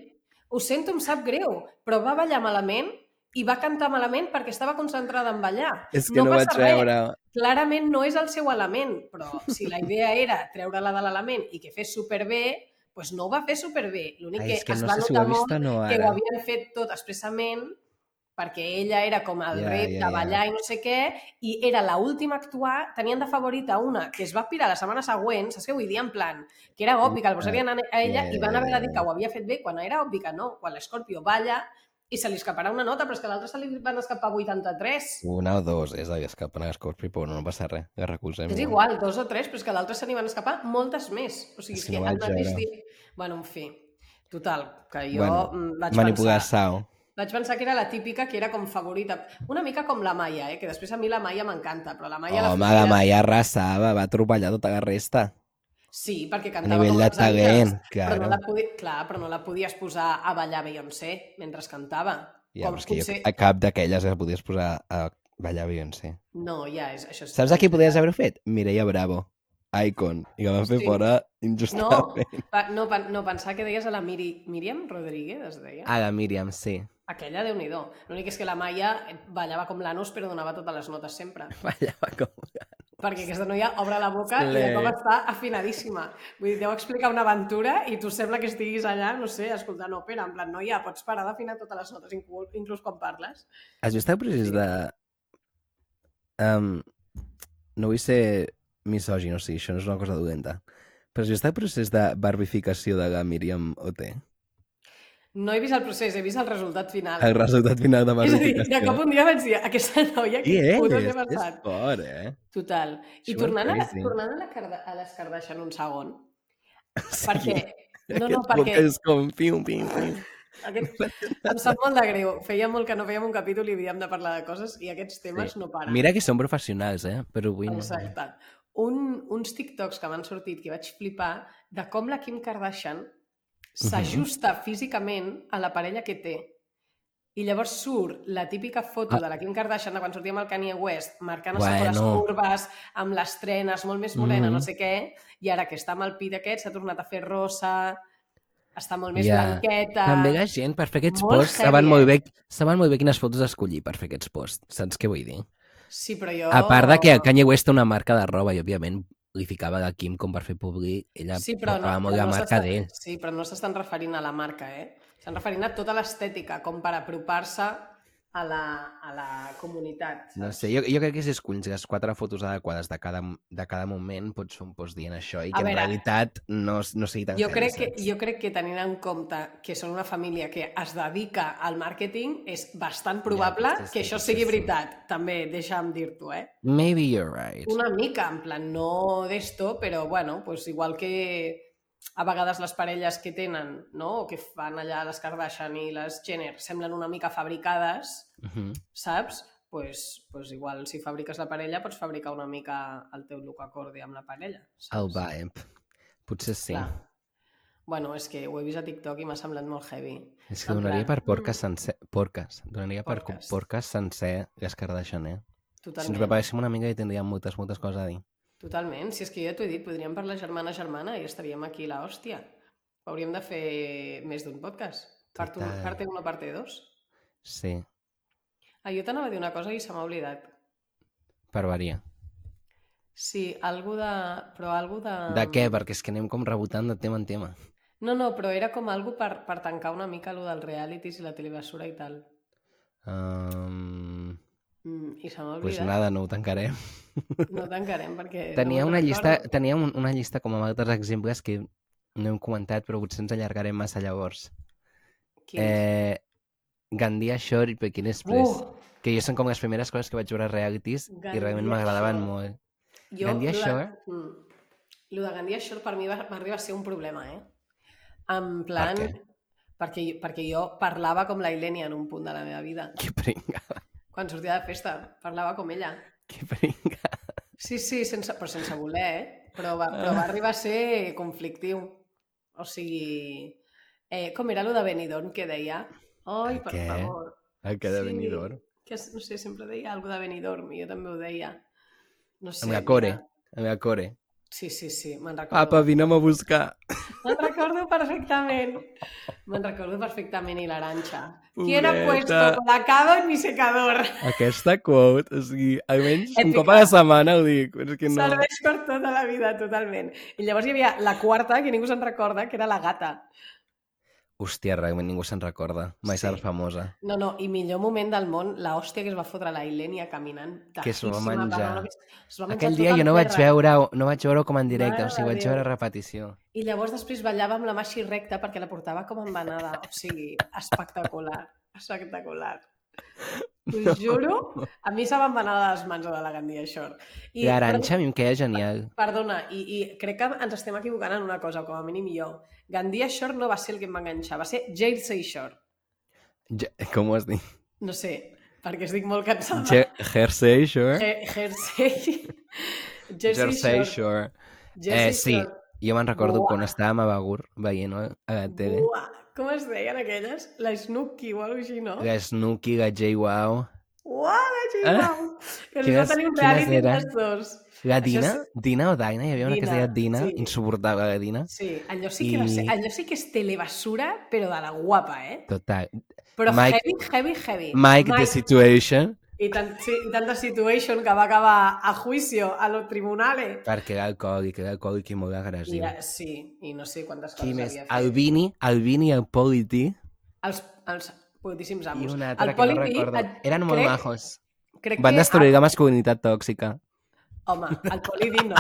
A: ho sento, em sap greu, però va ballar malament i va cantar malament perquè estava concentrada en ballar.
B: És que no,
A: passa
B: vaig veure...
A: Clarament no és el seu element, però si la idea era treure-la de l'element i que fes superbé, doncs no ho va fer superbé. L'únic
B: Ai,
A: que,
B: és que
A: es
B: no
A: va
B: sé si ho
A: notar
B: he
A: molt
B: vist o no
A: que ho
B: ara.
A: havien fet tot expressament perquè ella era com el
B: Ja,
A: yeah, repte,
B: ja,
A: yeah,
B: ja.
A: ballar i no sé què, i era la última a actuar, tenien de favorita una que es va pirar la setmana següent, saps què vull dir? En plan, que era obvi que el posarien a a ella
B: Ja,
A: i van
B: ja,
A: haver
B: ja,
A: de dir
B: ja.
A: que ho havia fet bé quan era obvi que no, quan l'Escorpio balla i se li escaparà una nota, però és que a l'altra se li van escapar 83.
B: Una o dos, eh, és a dir, escapant a Scorpio, però no passa res, que recolzem.
A: És igual, dos o tres, però és que a l'altre se n'hi van escapar moltes més. O sigui, és
B: Si
A: que
B: no
A: el
B: vaig
A: mateix
B: veure.
A: dia... Bueno, en fi. Total, que jo
B: Bueno,
A: bueno, vaig
B: Manipular
A: pensar...
B: Sao.
A: Vaig pensar que era la típica, que era com favorita. Una mica com la Maia, eh? que després a mi la Maia m'encanta, però la Maia... la
B: Home,
A: favorita-
B: la Maia arrasava, va atropellar tota la resta.
A: Sí, perquè
B: A
A: cantava
B: nivell
A: com
B: de
A: les àngels, Però
B: talent,
A: no
B: claro.
A: la podi... Clar, però no la podies posar a ballar Beyoncé mentre cantava.
B: Ja,
A: com
B: però és que
A: potser-
B: jo, a cap d'aquelles que podies posar a ballar Beyoncé.
A: No, ja, és, això és...
B: Saps a qui podies haver-ho fet? Mireia Bravo, Icon, i que van fer
A: Sí.
B: fora
A: No,
B: injustament.
A: pa, no, pa, no, pensar que deies a la Miri... Míriam Rodríguez, es deia?
B: A la Míriam, sí.
A: Aquella, déu nhi L'únic és que la Maia ballava com l'anus, però donava totes les notes sempre.
B: Ballava com...
A: Perquè aquesta noia obre la boca i de
B: Ole.
A: cop està afinadíssima. Vull dir, deu explicar una aventura i tu sembla que estiguis allà, no sé, escoltant òpera. En plan, noia, pots parar d'afinar totes les notes, inclús, inclús quan parles?
B: Has vist el procés de... Um, no vull ser misògin, o sigui, això no és una cosa dolenta. Però has vist el procés de barbificació de la Míriam Oté?
A: No he vist el procés, he vist el resultat final.
B: El resultat final de
A: és a dir,
B: barbificació.
A: de cop un dia vaig dir, aquesta noia,
B: Qui
A: que puto li
B: és?
A: ha
B: És
A: passat?
B: fort, eh?
A: Total. I
B: She went
A: tornant a, la-
B: crazy.
A: tornant a, la Carda, a les Kardashian un segon,
B: Sí.
A: perquè... No, no,
B: Aquest
A: perquè...
B: podcast És com pim, pim, pim.
A: Aquest... Em sap molt de greu. Feia molt que no fèiem un capítol i havíem de parlar de coses i aquests temes
B: Sí.
A: no paren.
B: Mira que són professionals, eh? Però avui no.
A: Exacte. Un, uns TikToks que m'han sortit que vaig flipar de com la Kim Kardashian s'ajusta físicament a la parella que té. I llavors surt la típica foto
B: Ah.
A: de la Kim Kardashian de quan sortia amb el Kanye West, marcant bueno. les
B: Bueno.
A: curves, amb les trenes, molt més morena, no
B: Mhm.
A: sé què, i ara que està amb el pit aquest s'ha tornat a fer rosa, està molt més
B: Ja.
A: blanqueta...
B: També la gent, per fer aquests
A: Molt
B: posts, saben
A: heavy,
B: molt,
A: eh?
B: bé, saben molt bé quines fotos escollir per fer aquests posts. Saps què vull dir?
A: Sí, però jo...
B: A part de que
A: Oh.
B: el Kanye West té una marca de roba i, òbviament, li ficava la Kim com per fer públic. Ella
A: Sí, però no,
B: portava molt
A: però
B: la
A: no
B: marca
A: s'estan-
B: d'ell.
A: Sí, però no s'estan referint a la marca, eh? S'han referint a tota l'estètica, com per apropar-se a, la, a la comunitat.
B: No sé, jo, jo crec que si escolls les quatre fotos adequades de cada, de cada moment pots fer un post dient això i
A: A
B: que en
A: veure,
B: realitat no, no sigui tan
A: Jo
B: heavy,
A: crec, que,
B: saps?
A: jo crec que tenint en compte que són una família que es dedica al màrqueting, és bastant probable
B: potser sí,
A: que això
B: potser
A: sigui
B: sí.
A: veritat. També, deixa'm dir-t'ho, eh?
B: Maybe you're right.
A: Una mica, en plan, no d'esto, però bueno, pues igual que a vegades les parelles que tenen, no? o que fan allà les Kardashian i les Jenner, semblen una mica fabricades,
B: Mhm.
A: saps? Pues, pues igual si fabriques la parella pots fabricar una mica el teu look acorde amb la parella.
B: El
A: Saps?
B: vibe. Potser sí.
A: Clar. Bueno, és que ho he vist a TikTok i m'ha semblat molt heavy.
B: És que
A: En
B: donaria
A: plan,
B: per porques
A: mm.
B: sencer... Porques. Donaria per co-
A: Porques.
B: porques sencer les Kardashian, eh? Si ens
A: Totalment.
B: preparéssim una mica hi tindríem moltes, moltes coses a dir.
A: Totalment, si és que jo ja t'ho he dit, podríem parlar germana-germana i estaríem aquí la hòstia. Hauríem de fer més d'un podcast. Part 1,
B: Total.
A: parte 1, parte 2.
B: Sí,
A: Ah, jo t'anava a dir una cosa i se m'ha oblidat.
B: per variar.
A: Sí, algú de... Però algú de...
B: De què? Perquè és que anem com rebotant de tema en tema.
A: No, no, però era com algú per, per tancar una mica lo dels realities i la telebasura i tal.
B: Um...
A: Mm, I se m'ha
B: Pues
A: oblidat.
B: nada, no ho tancarem.
A: No tancarem perquè... no
B: Tenia
A: me'n
B: una llista,
A: recordo.
B: tenia un, una llista com amb altres exemples que no hem comentat, però potser ens allargarem massa llavors.
A: Quins?
B: Eh, Gandia Shore i Pekin Express,
A: Uh,
B: que jo són com les primeres coses que vaig veure a realities i realment
A: Gandia
B: m'agradaven
A: Shore.
B: molt.
A: jo,
B: Gandia
A: lo de-
B: Shore?
A: Mm. Lo de Gandia Shore per mi va, va arribar a ser un problema, eh? En plan...
B: què?
A: Perquè, jo- perquè jo parlava com la Ilenia en un punt de la meva vida.
B: Que pringa,
A: Quan sortia de festa, parlava com ella.
B: que pringa.
A: Sí, sí, sense, però sense voler, eh? Però va, però va arribar a ser conflictiu. O sigui... Eh, com era lo de Benidorm que deia? Ai,
B: El
A: per
B: què?
A: favor.
B: El que de Benidorm.
A: Que, no sé, sempre deia alguna de Benidorm i jo també ho deia. No sé,
B: Amb la core. Ah,
A: mira.
B: A la core.
A: Sí, sí, sí, me'n
B: Apa,
A: recordo.
B: vine'm a buscar.
A: Me'n recordo perfectament. Me'n recordo perfectament i l'Aranxa.
B: Pobreta.
A: Quiero puesto con la cava en mi secador.
B: Aquesta quote, o sigui, almenys un
A: Èpica.
B: cop a la setmana ho dic. És que
A: No.
B: no...
A: Serveix per tota la vida, totalment. I llavors hi havia la quarta, que ningú se'n recorda, que era la gata.
B: Hòstia, realment ningú se'n recorda. Mai
A: Sí.
B: serà famosa.
A: No, no, i millor moment del món, la hòstia que es va fotre la Ilenia caminant.
B: Que s'ho va
A: tajíssima,
B: menjar.
A: perdona, que es va menjar
B: Aquell
A: tot
B: dia
A: el
B: jo no vaig
A: terra.
B: veure, no vaig veure com en directe,
A: Mare
B: o sigui,
A: de
B: vaig
A: Déu.
B: veure repetició.
A: I llavors després ballava amb la mà així recta perquè la portava com embanada. O sigui, espectacular, espectacular. T'ho juro, a mi se m'embanava de les mans de la Gandia Shore.
B: I l'Aranxa a mi em queia genial.
A: Perdona, i, i crec que ens estem equivocant en una cosa, com a mínim jo. Gandia Shore no va ser el que em va enganxar, va ser Jersey Shore.
B: Ja, com ho has dit?
A: No sé, perquè estic molt cansada.
B: Je Jersey Shore?
A: Eh, Jersey.
B: Jersey Shore. Eh, sí, jo me'n recordo
A: Buah.
B: quan estàvem a Begur veient eh, a la tele.
A: Buah, com es deien aquelles? La Snooki o alguna cosa així, no?
B: La Snooki, la Jay Wow.
A: Uau, la
B: Eh?
A: Gina! Que es va
B: Quines-
A: tenir un
B: quines
A: reality
B: eren?
A: dels dos.
B: La
A: Això
B: Dina?
A: és-
B: Dina o Daina? Hi havia una que es
A: Dina,
B: deia Dina,
A: sí.
B: insuportable la Dina.
A: Sí, allò sí que, va
B: I-
A: ser, allò sí que és telebasura, però de la guapa, eh?
B: Total.
A: Però
B: Mike-
A: heavy, heavy, heavy.
B: Mike, the Situation,
A: i, tant, sí, I tanta situation que va acabar a juicio, a los tribunales.
B: perquè era alcohòlic, era alcohòlic i molt
A: I,
B: agressiu.
A: eh, sí, i no sé quantes
B: Qui
A: coses
B: més?
A: havia fet.
B: El Vini, el Vini i el Polity.
A: Els, els putíssims
B: I
A: amos.
B: un altre
A: El
B: que no
A: Poli Pi,
B: recordo.
A: et-
B: Eren molt
A: crec-
B: majos.
A: Crec
B: Van
A: que-
B: destruir la masculinitat tòxica.
A: Home, el Polidi no.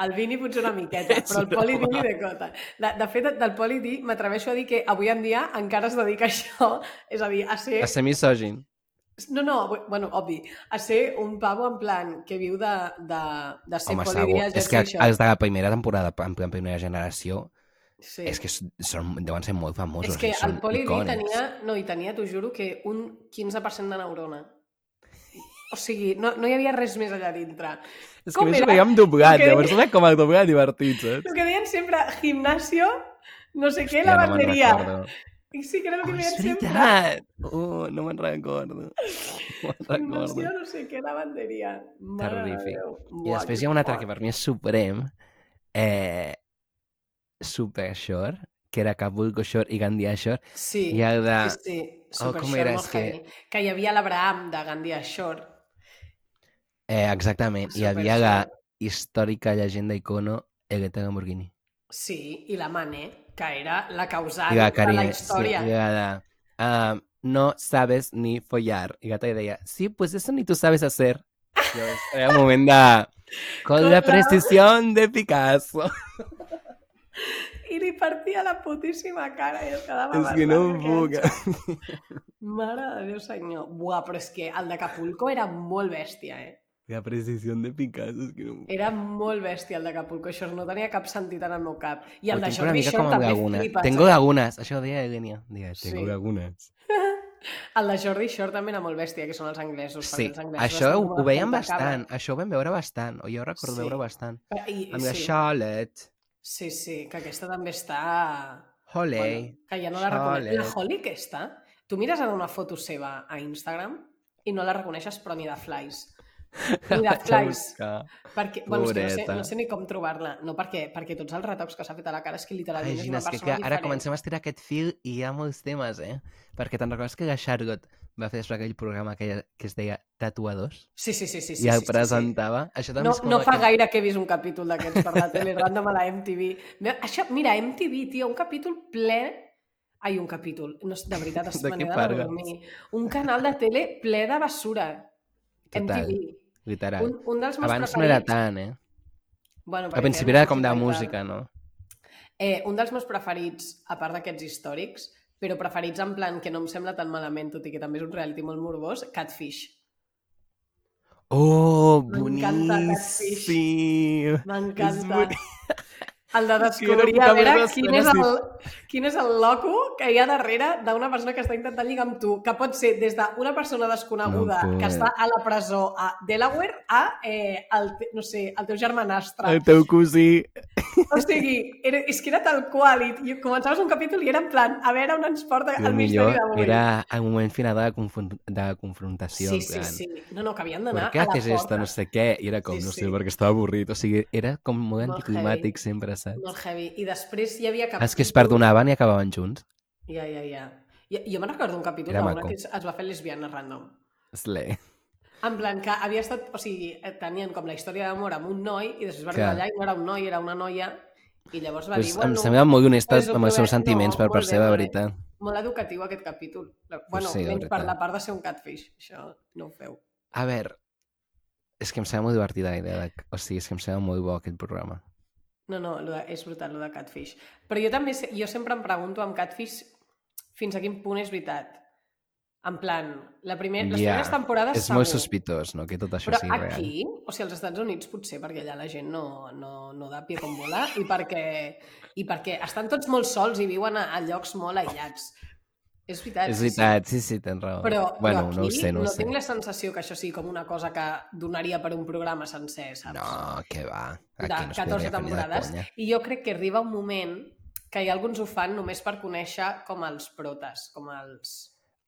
A: El Vini potser una miqueta,
B: Ets
A: però el
B: una
A: Polidi ni de cota. De, de fet, del Polidi m'atreveixo a dir que avui en dia encara es dedica a això, és a dir, a ser...
B: A ser misògin.
A: No, no, bu- bueno, obvi, a ser un pavo en plan que viu de, de, de ser
B: Home,
A: Polidi
B: segur.
A: a
B: És que
A: Jersey Shore.
B: els de la primera temporada, en plan primera generació,
A: Sí.
B: és que són, deuen ser molt famosos.
A: és que
B: i
A: el
B: són
A: Polidi
B: icònics.
A: tenia, no, i tenia, t'ho juro, que un 15% de neurona. O sigui, no, no hi havia res més allà dintre.
B: És que
A: Com
B: a més ho
A: era?
B: veiem doblat,
A: Que-
B: llavors era com el doblat divertit, saps?
A: El que deien sempre, gimnasio, no sé què, la
B: Hòstia, no me'n
A: bateria.
B: recordo.
A: I sí que era el que
B: Oh,
A: oh,
B: és
A: veien sempre.
B: veritat! Oh, no me'n recordo. No me'n recordo.
A: Invasió, no sé què, lavanderia. Mare de
B: Terrífic.
A: Déu.
B: I
A: Buah,
B: després
A: que
B: hi ha un altre
A: fort.
B: que per mi és suprem, eh, Super Shore, que era Acapulco Shore i Gandia Shore,
A: Sí,
B: i el de...
A: sí, sí.
B: Oh,
A: Super
B: com
A: Shore,
B: era,
A: molt
B: és que-
A: heavy. Que hi havia l'Abraham de Gandia Shore.
B: Eh, exactament, hi
A: Super
B: havia la
A: Shore.
B: històrica llegenda icono Eleta Lamborghini.
A: Sí, i la Mane, que era la causant
B: I la
A: Ah, de la
B: Karina, sí,
A: història.
B: i la de... Um, no sabes ni follar. I Gata li deia, sí, pues eso ni tú sabes hacer. Llavors, era un moment de... Con
A: Con
B: la
A: la-
B: precisión de Picasso.
A: I li partia la putíssima cara i es quedava...
B: És que no em puc.
A: Mare de Déu, senyor. Buah, però és que el d'Acapulco era molt bèstia, eh?
B: La precisión de Picasso, és que no em puc.
A: Era molt bèstia el d'Acapulco Shore, no tenia cap sentit en el meu cap. I
B: Ho
A: el de
B: tinc una
A: Jordi
B: mica
A: Shore
B: com amb
A: també
B: lagunes.
A: flipes.
B: Tengo lagunas. Això ho deia Eugenia. Deia,
A: ¿eh? Sí.
B: tengo lagunas.
A: El de Jordi Shore també era molt bèstia, que són els anglesos. perquè
B: Sí,
A: els anglesos
B: això
A: estan
B: ho,
A: com
B: ho veiem
A: bastanta
B: bastant. Això ho vam veure bastant. O jo recordo
A: Sí.
B: veure bastant.
A: cabra. I,
B: Amb la
A: Eh, sí,
B: Charlotte.
A: sí, sí, que aquesta també està...
B: Holey.
A: Bueno, que ja no la
B: Xole.
A: reconec. La Holly aquesta, tu mires en una foto seva a Instagram i no la reconeixes, però ni de flies. Ni de flies. Perquè, bueno, és que no sé,
B: Pobreta.
A: no sé ni com trobar-la. No, perquè, perquè tots els retocs que s'ha fet a la cara és que
B: Ai,
A: literalment és
B: Gina,
A: una
B: és que,
A: persona
B: clar,
A: diferent.
B: ara comencem a estirar aquest fil i hi ha molts temes, eh? Perquè te'n recordes que la Charlotte va fer després aquell programa que, que es deia Tatuadors?
A: Sí, sí, sí. sí,
B: Sí,
A: sí
B: I el
A: sí, sí, sí.
B: presentava? Això també
A: No,
B: és com
A: no fa
B: aquest-
A: gaire que he vist un capítol d'aquests per la tele random a la MTV. Ve- Això, mira, MTV, tio, un capítol ple... Ai, un capítol. No, sé, de veritat, es
B: De
A: me
B: què
A: n'he
B: parles?
A: dormir. Un canal de tele ple de basura.
B: Total.
A: MTV.
B: literal.
A: Un, un dels meus
B: Abans no era
A: preferits...
B: tant, eh?
A: Bueno,
B: Al
A: perquè
B: principi
A: feien
B: era com de
A: musical i tal.
B: música, no?
A: Eh, un dels meus preferits, a part d'aquests històrics, però preferits en plan que no em sembla tan malament, tot i que també és un reality molt morbós, Catfish.
B: Oh,
A: M'encanta Catfish.
B: boníssim! És
A: M'encanta.
B: boni-
A: El de descobrir
B: puta
A: a veure
B: merda
A: quin és,
B: escenes
A: el, quin és el loco que hi ha darrere d'una persona que està intentant lligar amb tu, que pot ser des d'una persona desconeguda
B: No
A: no
B: pot.
A: que està a la presó a Delaware a, eh, el, te- no sé, el teu germanastre.
B: El teu cosí.
A: O sigui, era, és que era tal qual i, i començaves un capítol i era en plan a veure on ens porta
B: I
A: el,
B: el
A: misteri
B: millor
A: d'avui.
B: era el moment final de, la confron- de confrontació.
A: Sí,
B: en
A: sí,
B: plan,
A: sí. No, no, que havien d'anar
B: Per
A: a
B: què
A: la
B: haces esto,
A: porta.
B: no sé què? I era com,
A: Sí,
B: no sé,
A: sí.
B: perquè estava avorrit. O sigui, era com molt
A: Molt
B: anticlimàtic sempre, saps?
A: Molt heavy. I després hi havia cap...
B: Els Ah, que es perdonaven i acabaven junts.
A: Ja, ja, ja. Jo, jo me'n recordo un capítol
B: Era
A: d'una
B: maco.
A: que es, es va fer lesbiana random.
B: Slay.
A: En plan que havia estat... O sigui, eh, tenien com la història d'amor amb un noi i després va
B: Clar.
A: arribar allà i no era un noi, era una noia. I llavors va
B: Pues,
A: dir,
B: em
A: bueno,
B: sembla molt honesta
A: pues ho
B: amb els seus
A: trobem-
B: sentiments
A: no,
B: per
A: molt
B: part
A: bé,
B: seva,
A: molt bé.
B: veritat.
A: molt educatiu aquest capítol. La- Bueno,
B: sí, la
A: menys per
B: veritat.
A: la part de ser un catfish. Això no ho feu.
B: A veure, és que em sembla molt divertida la idea. De... O sigui, és que em sembla molt bo aquest programa.
A: No, no, lo de, és brutal, lo de Catfish. Però jo també, se- jo sempre em pregunto amb Catfish fins a quin punt és veritat. En plan, la primer, les
B: Ja,
A: primeres temporades
B: És molt sospitós, no?, que tot això
A: Però
B: sigui real.
A: aquí, o sigui, als Estats Units potser, perquè allà la gent no, no, no da pie com vola i perquè, i perquè estan tots molt sols i viuen a, a llocs molt aïllats. És veritat.
B: És
A: sí, sí.
B: veritat, sí, sí, tens raó.
A: Però,
B: bueno,
A: però aquí
B: no ho sé, no, ho sé.
A: tinc la sensació que això sigui com una cosa que donaria per un programa sencer, saps?
B: No, que va.
A: de
B: Aquí no
A: 14
B: es podria fer ni de
A: temporades
B: conya.
A: i jo crec que arriba un moment que hi ha alguns ho fan només per conèixer com els protes, com els...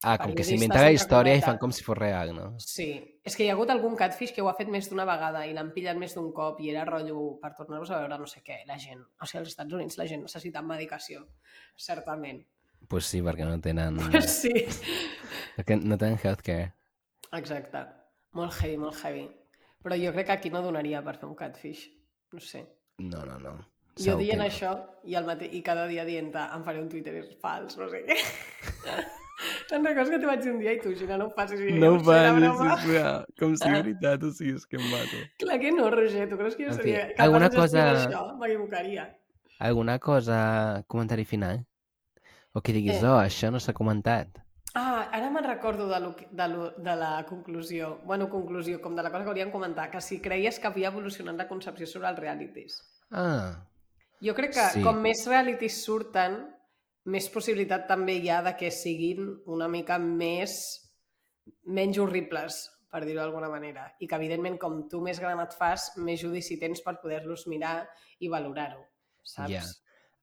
B: Ah, com que
A: periodistes,
B: s'inventa la
A: entre
B: història i
A: cometes.
B: fan com si fos real, no?
A: Sí, és que hi ha hagut algun catfish que ho ha fet més d'una vegada i l'han pillat més d'un cop i era rotllo per tornar-vos a veure no sé què, la gent. O sigui, als Estats Units la gent necessita medicació, certament.
B: Pues sí, perquè no tenen...
A: Pues sí,
B: perquè no tenen healthcare.
A: exacte. Molt heavy, molt heavy. Però jo crec que aquí no donaria per fer un catfish. No sé.
B: No, no, no.
A: Jo
B: Segur que
A: dient
B: no.
A: això i, el mate... i cada dia dient em faré un Twitter fals, no sé què. Te'n recordes que t'hi vaig dir un dia i tu, Gina, no ho facis? I jo,
B: No ho
A: "Sí, era
B: facis,
A: broma."
B: sisplau. Com si de veritat, o sigui, és que em mato.
A: Clar que no, Roger, tu creus que jo
B: En fi,
A: seria capaç
B: alguna
A: de gestionar
B: cosa-
A: això? M'equivocaria.
B: Alguna cosa, comentari final? O que diguis,
A: Eh.
B: oh, això no s'ha comentat.
A: Ah, ara me'n recordo de, lo... de, lo... de la conclusió. Bueno, conclusió, com de la cosa que volíem comentar, que si creies que havia evolucionat la concepció sobre els realities.
B: Ah,
A: Jo crec que
B: Sí.
A: sí. com més realities surten, més possibilitat també hi ha de que siguin una mica més menys horribles, per dir-ho d'alguna manera. I que, evidentment, com tu més gran et fas, més judici tens per poder-los mirar i valorar-ho, saps?
B: Ja.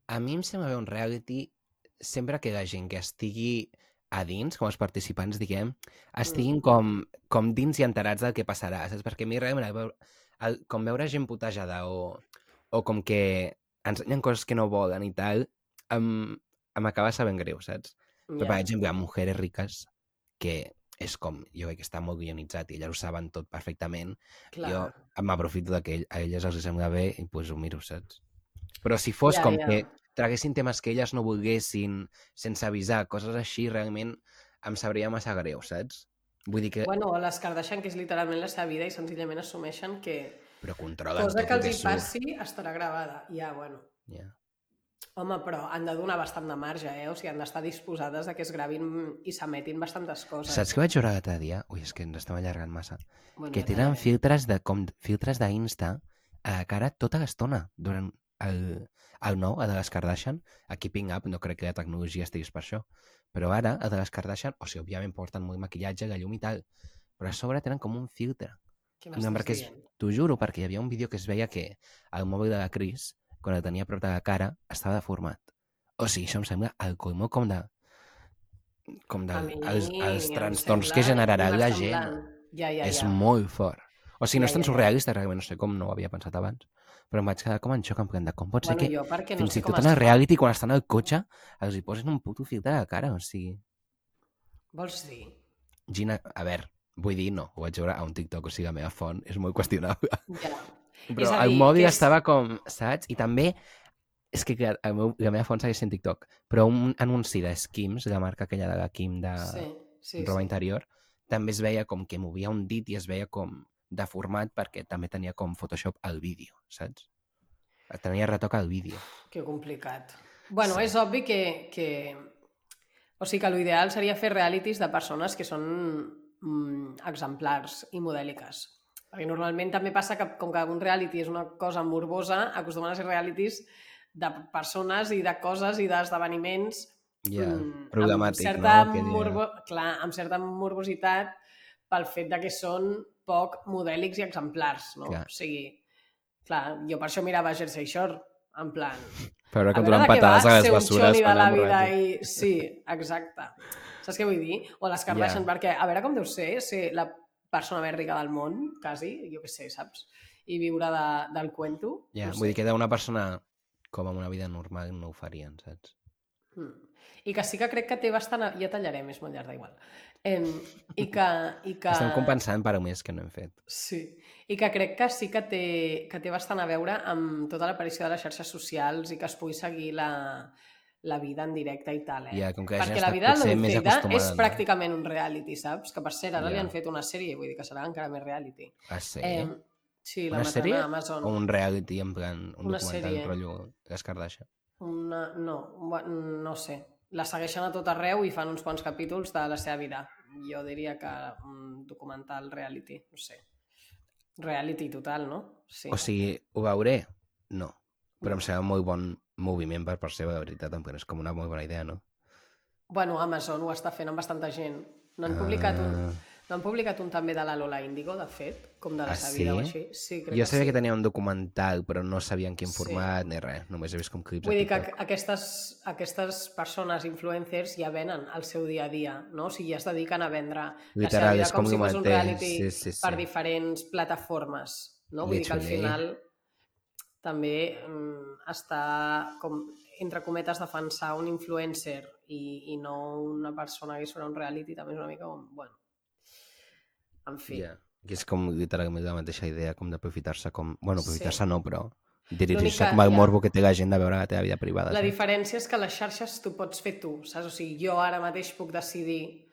B: a mi em sembla bé un reality sempre que la gent que estigui a dins, com els participants, diguem, estiguin com, com dins i enterats del que passarà, saps? Perquè a mi realment el veu- el, com veure gent putejada o, o com que ensenyen coses que no volen i tal, em, em acaba sabent greu, saps? Però, per exemple, a Mujeres Riques, que és com, jo crec que està molt guionitzat i ja ho saben tot perfectament,
A: clar.
B: jo eh, m'aprofito de que ell- a elles els sembla bé i pues, ho miro, saps? Però si fos
A: Ja,
B: ja, com
A: ja.
B: ja. que traguessin temes que elles no volguessin, sense avisar, coses així, realment em sabria massa greu, saps? Vull dir que... Bueno,
A: Bueno, les Kardashian, que és literalment la seva vida, i senzillament assumeixen que
B: però controla
A: cosa que
B: el
A: els hi
B: surt.
A: passi estarà gravada. Ja, bueno.
B: Ja.
A: Home, però han de donar bastant de marge, eh? O sigui, han d'estar disposades a que es gravin i s'emetin bastantes coses.
B: Saps què vaig veure l'altre dia? Ui, és que ens estem allargant massa.
A: Bueno,
B: Que
A: ja
B: tenen
A: t'agradarà.
B: filtres de com filtres d'Insta a la cara tota l'estona durant el, el nou, el de les Kardashian. A Keeping Up no crec que la tecnologia estiguis per això. Però ara, el de les Kardashian, o sigui, òbviament porten molt maquillatge, la llum i tal, però a sobre tenen com un filtre.
A: Què
B: No,
A: m'estàs
B: perquè és-
A: dient?
B: T'ho juro, perquè hi havia un vídeo que es veia que el mòbil de la Cris, quan la tenia a prop de la cara, estava deformat. O sigui, això em sembla el colmó com de com de,
A: A mi
B: els, els
A: em
B: trastorns que
A: sembla
B: generarà la gent.
A: semblant. Ja, ja,
B: és
A: ja.
B: molt fort. O sigui,
A: Ja,
B: no és tan
A: ja, ja.
B: surrealista, realment, no sé com, no ho havia pensat abans, però em vaig quedar com en xoc, en plan de com pot ser
A: Bueno,
B: que
A: jo perquè no
B: fins
A: sé
B: i
A: com
B: tot en
A: es
B: el
A: fa.
B: reality, quan estan al cotxe, els hi posen un puto filtre a la cara, o sigui...
A: Vols dir?
B: Gina, a veure, vull dir, no, ho vaig veure a un TikTok, o sigui, la meva font és molt qüestionable.
A: Ja.
B: Però
A: a
B: el
A: dir,
B: mòbil
A: que és-
B: estava com, saps? I també, és que clar, el meu, la meva font segueix sent TikTok, però un anunci de Skims, la marca aquella de la Kim de
A: Sí, sí,
B: Ah, roba
A: sí.
B: interior, també es veia com que movia un dit i es veia com de format perquè també tenia com Photoshop el vídeo, saps? Tenia retoc al vídeo.
A: Que complicat. Bueno,
B: Sí.
A: sí. és obvi que, que... O sigui que l'ideal seria fer realities de persones que són mm, exemplars i modèliques. Perquè normalment també passa que, com que un reality és una cosa morbosa, acostumen a ser realities de persones i de coses i d'esdeveniments
B: Ja,
A: mm,
B: problemàtic,
A: amb certa
B: no? Que diria.
A: morbo... Clar, amb certa morbositat pel fet de que són poc modèlics i exemplars, no?
B: Clar.
A: O sigui, clar, jo per això mirava Jersey Shore, en plan,
B: Però
A: a
B: que et
A: veure
B: donen
A: de què va
B: patades a les
A: ser un
B: bessures
A: xoli de
B: quan
A: la
B: em
A: vida i...
B: borratxo.
A: Sí, exacte. Saps què vull dir? O les Kardashian, yeah. perquè a veure com deu ser ser la persona més rica del món, quasi, jo què sé, saps? I viure de, del cuento.
B: Ja,
A: no
B: vull
A: sé.
B: dir que d'una persona com amb una vida normal no ho farien, saps?
A: Mm. I que sí que crec que té bastant... a- Ja tallarem, és molt llarga, igual. Em, i, que, I que...
B: Estem compensant per més que no hem fet.
A: Sí, i que crec que sí que té, que té bastant a veure amb tota l'aparició de les xarxes socials i que es pugui seguir la, la vida en directe i tal, eh?
B: Ja, com que la gent
A: Perquè la
B: està
A: vida de
B: potser més
A: Lucida
B: acostumada.
A: és pràcticament un reality, saps? Que per cert, ara
B: Ja.
A: li han fet una sèrie, vull dir que serà encara més reality.
B: No? Ah, sí?
A: Em, sí, la
B: Una
A: metran
B: sèrie
A: a Amazon.
B: O un reality, en plan, un
A: Una
B: documental,
A: sèrie.
B: rotllo, les Kardashian.
A: Una... No, bu- no sé. La segueixen a tot arreu i fan uns quants capítols de la seva vida. Jo diria que un documental reality, no sé. Reality total, no? Sí.
B: O sigui, ho veuré? No. Però em sembla molt bon moviment per part seva, de veritat, en plan, és com una molt bona idea, no?
A: Bueno, Amazon ho està fent amb bastanta gent. N'han publicat un...
B: Ah.
A: N'han publicat un també de la Lola Índigo, de fet, com de la
B: Ah,
A: seva vida o
B: sí?
A: així. Sí, crec
B: Jo
A: que
B: sabia
A: sí.
B: que tenia un documental, però no sabia en quin
A: Sí.
B: format ni res. Només he vist com clips
A: Vull
B: a
A: dir que
B: TikTok.
A: aqu- aquestes, aquestes persones influencers ja venen al seu dia a dia, no? O sigui, ja es dediquen a vendre la seva
B: Literal,
A: vida
B: és
A: com,
B: com
A: si
B: ho
A: fos un
B: manté,
A: reality
B: sí, sí, sí.
A: per diferents plataformes, no? Vull dir que al
B: Literally.
A: final també mm, està com entre cometes defensar un influencer i, i no una persona que surt a un reality també és una mica com, bueno, en fi.
B: Ja. Que és com literalment la mateixa idea, com d'aprofitar-se com... Bueno,
A: Sí.
B: aprofitar-se no, però dirigir-se
A: L'única-
B: com el
A: ja.
B: morbo que té la gent de veure la teva vida privada.
A: La
B: saps?
A: diferència és que les xarxes tu pots fer tu, saps? O sigui, jo ara mateix puc decidir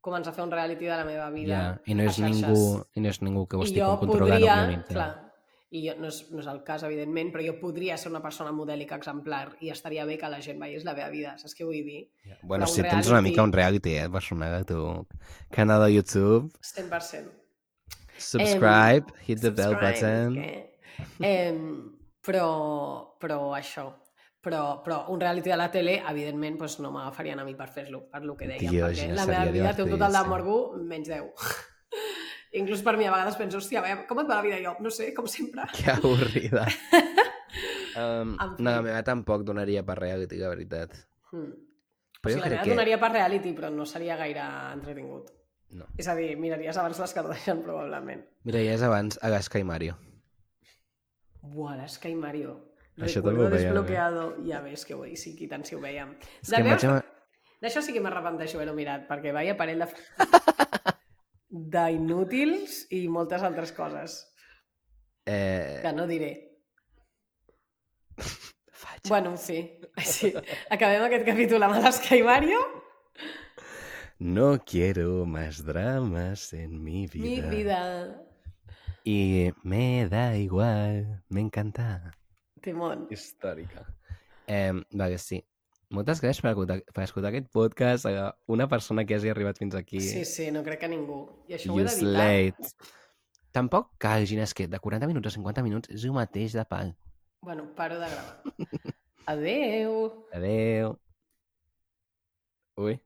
A: començar a fer un reality de la meva vida.
B: Ja, I no
A: a
B: és
A: xarxes.
B: ningú, i no és ningú que ho
A: I
B: estigui
A: jo
B: com controlant
A: podria,
B: o monitorant.
A: clar, i jo, no, és, no és el cas, evidentment, però jo podria ser una persona modèlica exemplar i estaria bé que la gent veiés la meva vida, saps què vull dir?
B: Ja. Bueno,
A: Però
B: si
A: un
B: tens una mica
A: reality-
B: un reality, eh, personal, tu. Canal de YouTube,
A: 100%.
B: subscribe, hit the bell
A: subscribe,
B: button.
A: Que... Em, però, però això, però, però un reality de la tele, evidentment, doncs no m'agafarien a mi per fer-lo, per lo que dèiem,
B: Dios,
A: perquè
B: ja
A: la
B: seria
A: meva vida té un total de
B: divertidíssim.
A: morbo menys 10. Inclús per mi a vegades penso, hòstia, vaja, com et va la vida jo? No sé, com sempre.
B: Que avorrida. um,
A: En fi.
B: no, la meva tampoc donaria per reality, la veritat.
A: Mm. O
B: Però
A: sigui,
B: jo
A: la meva
B: crec
A: que...
B: que...
A: donaria per reality, però no seria gaire entretingut.
B: No.
A: És a dir, miraries abans les Kardashian, probablement.
B: Mira, ja és abans Alaska i Mario.
A: Buah, les que i Mario.
B: Això
A: Recuerdo
B: també ho veiem, eh?
A: desbloqueado. Ja ves que oi, sí, i tant si ho vèiem.
B: És
A: De
B: que em
A: veus-
B: vaig... ama-
A: D'això sí que m'arrepenteixo haver-ho mirat, perquè veia parell de... d'inútils i moltes altres coses,
B: Eh...
A: que no diré.
B: Faig.
A: Bueno, sí. sí. Acabem aquest capítol amb Alaska i Mario.
B: No quiero más dramas en mi vida.
A: Mi vida.
B: Y me da igual. Me encanta.
A: Timon.
B: Històrica. Eh, vale, sí. Moltes gràcies per, escoltar, per escoltar aquest podcast a una persona que hagi arribat fins aquí.
A: Sí, sí, no crec que ningú. I això ho he
B: You
A: d'evitar.
B: slayed. Tampoc cal, Gina, és que de 40 minuts a 50 minuts és el mateix de pal.
A: Bueno, paro de gravar. Adeu.
B: Adeu. Ui.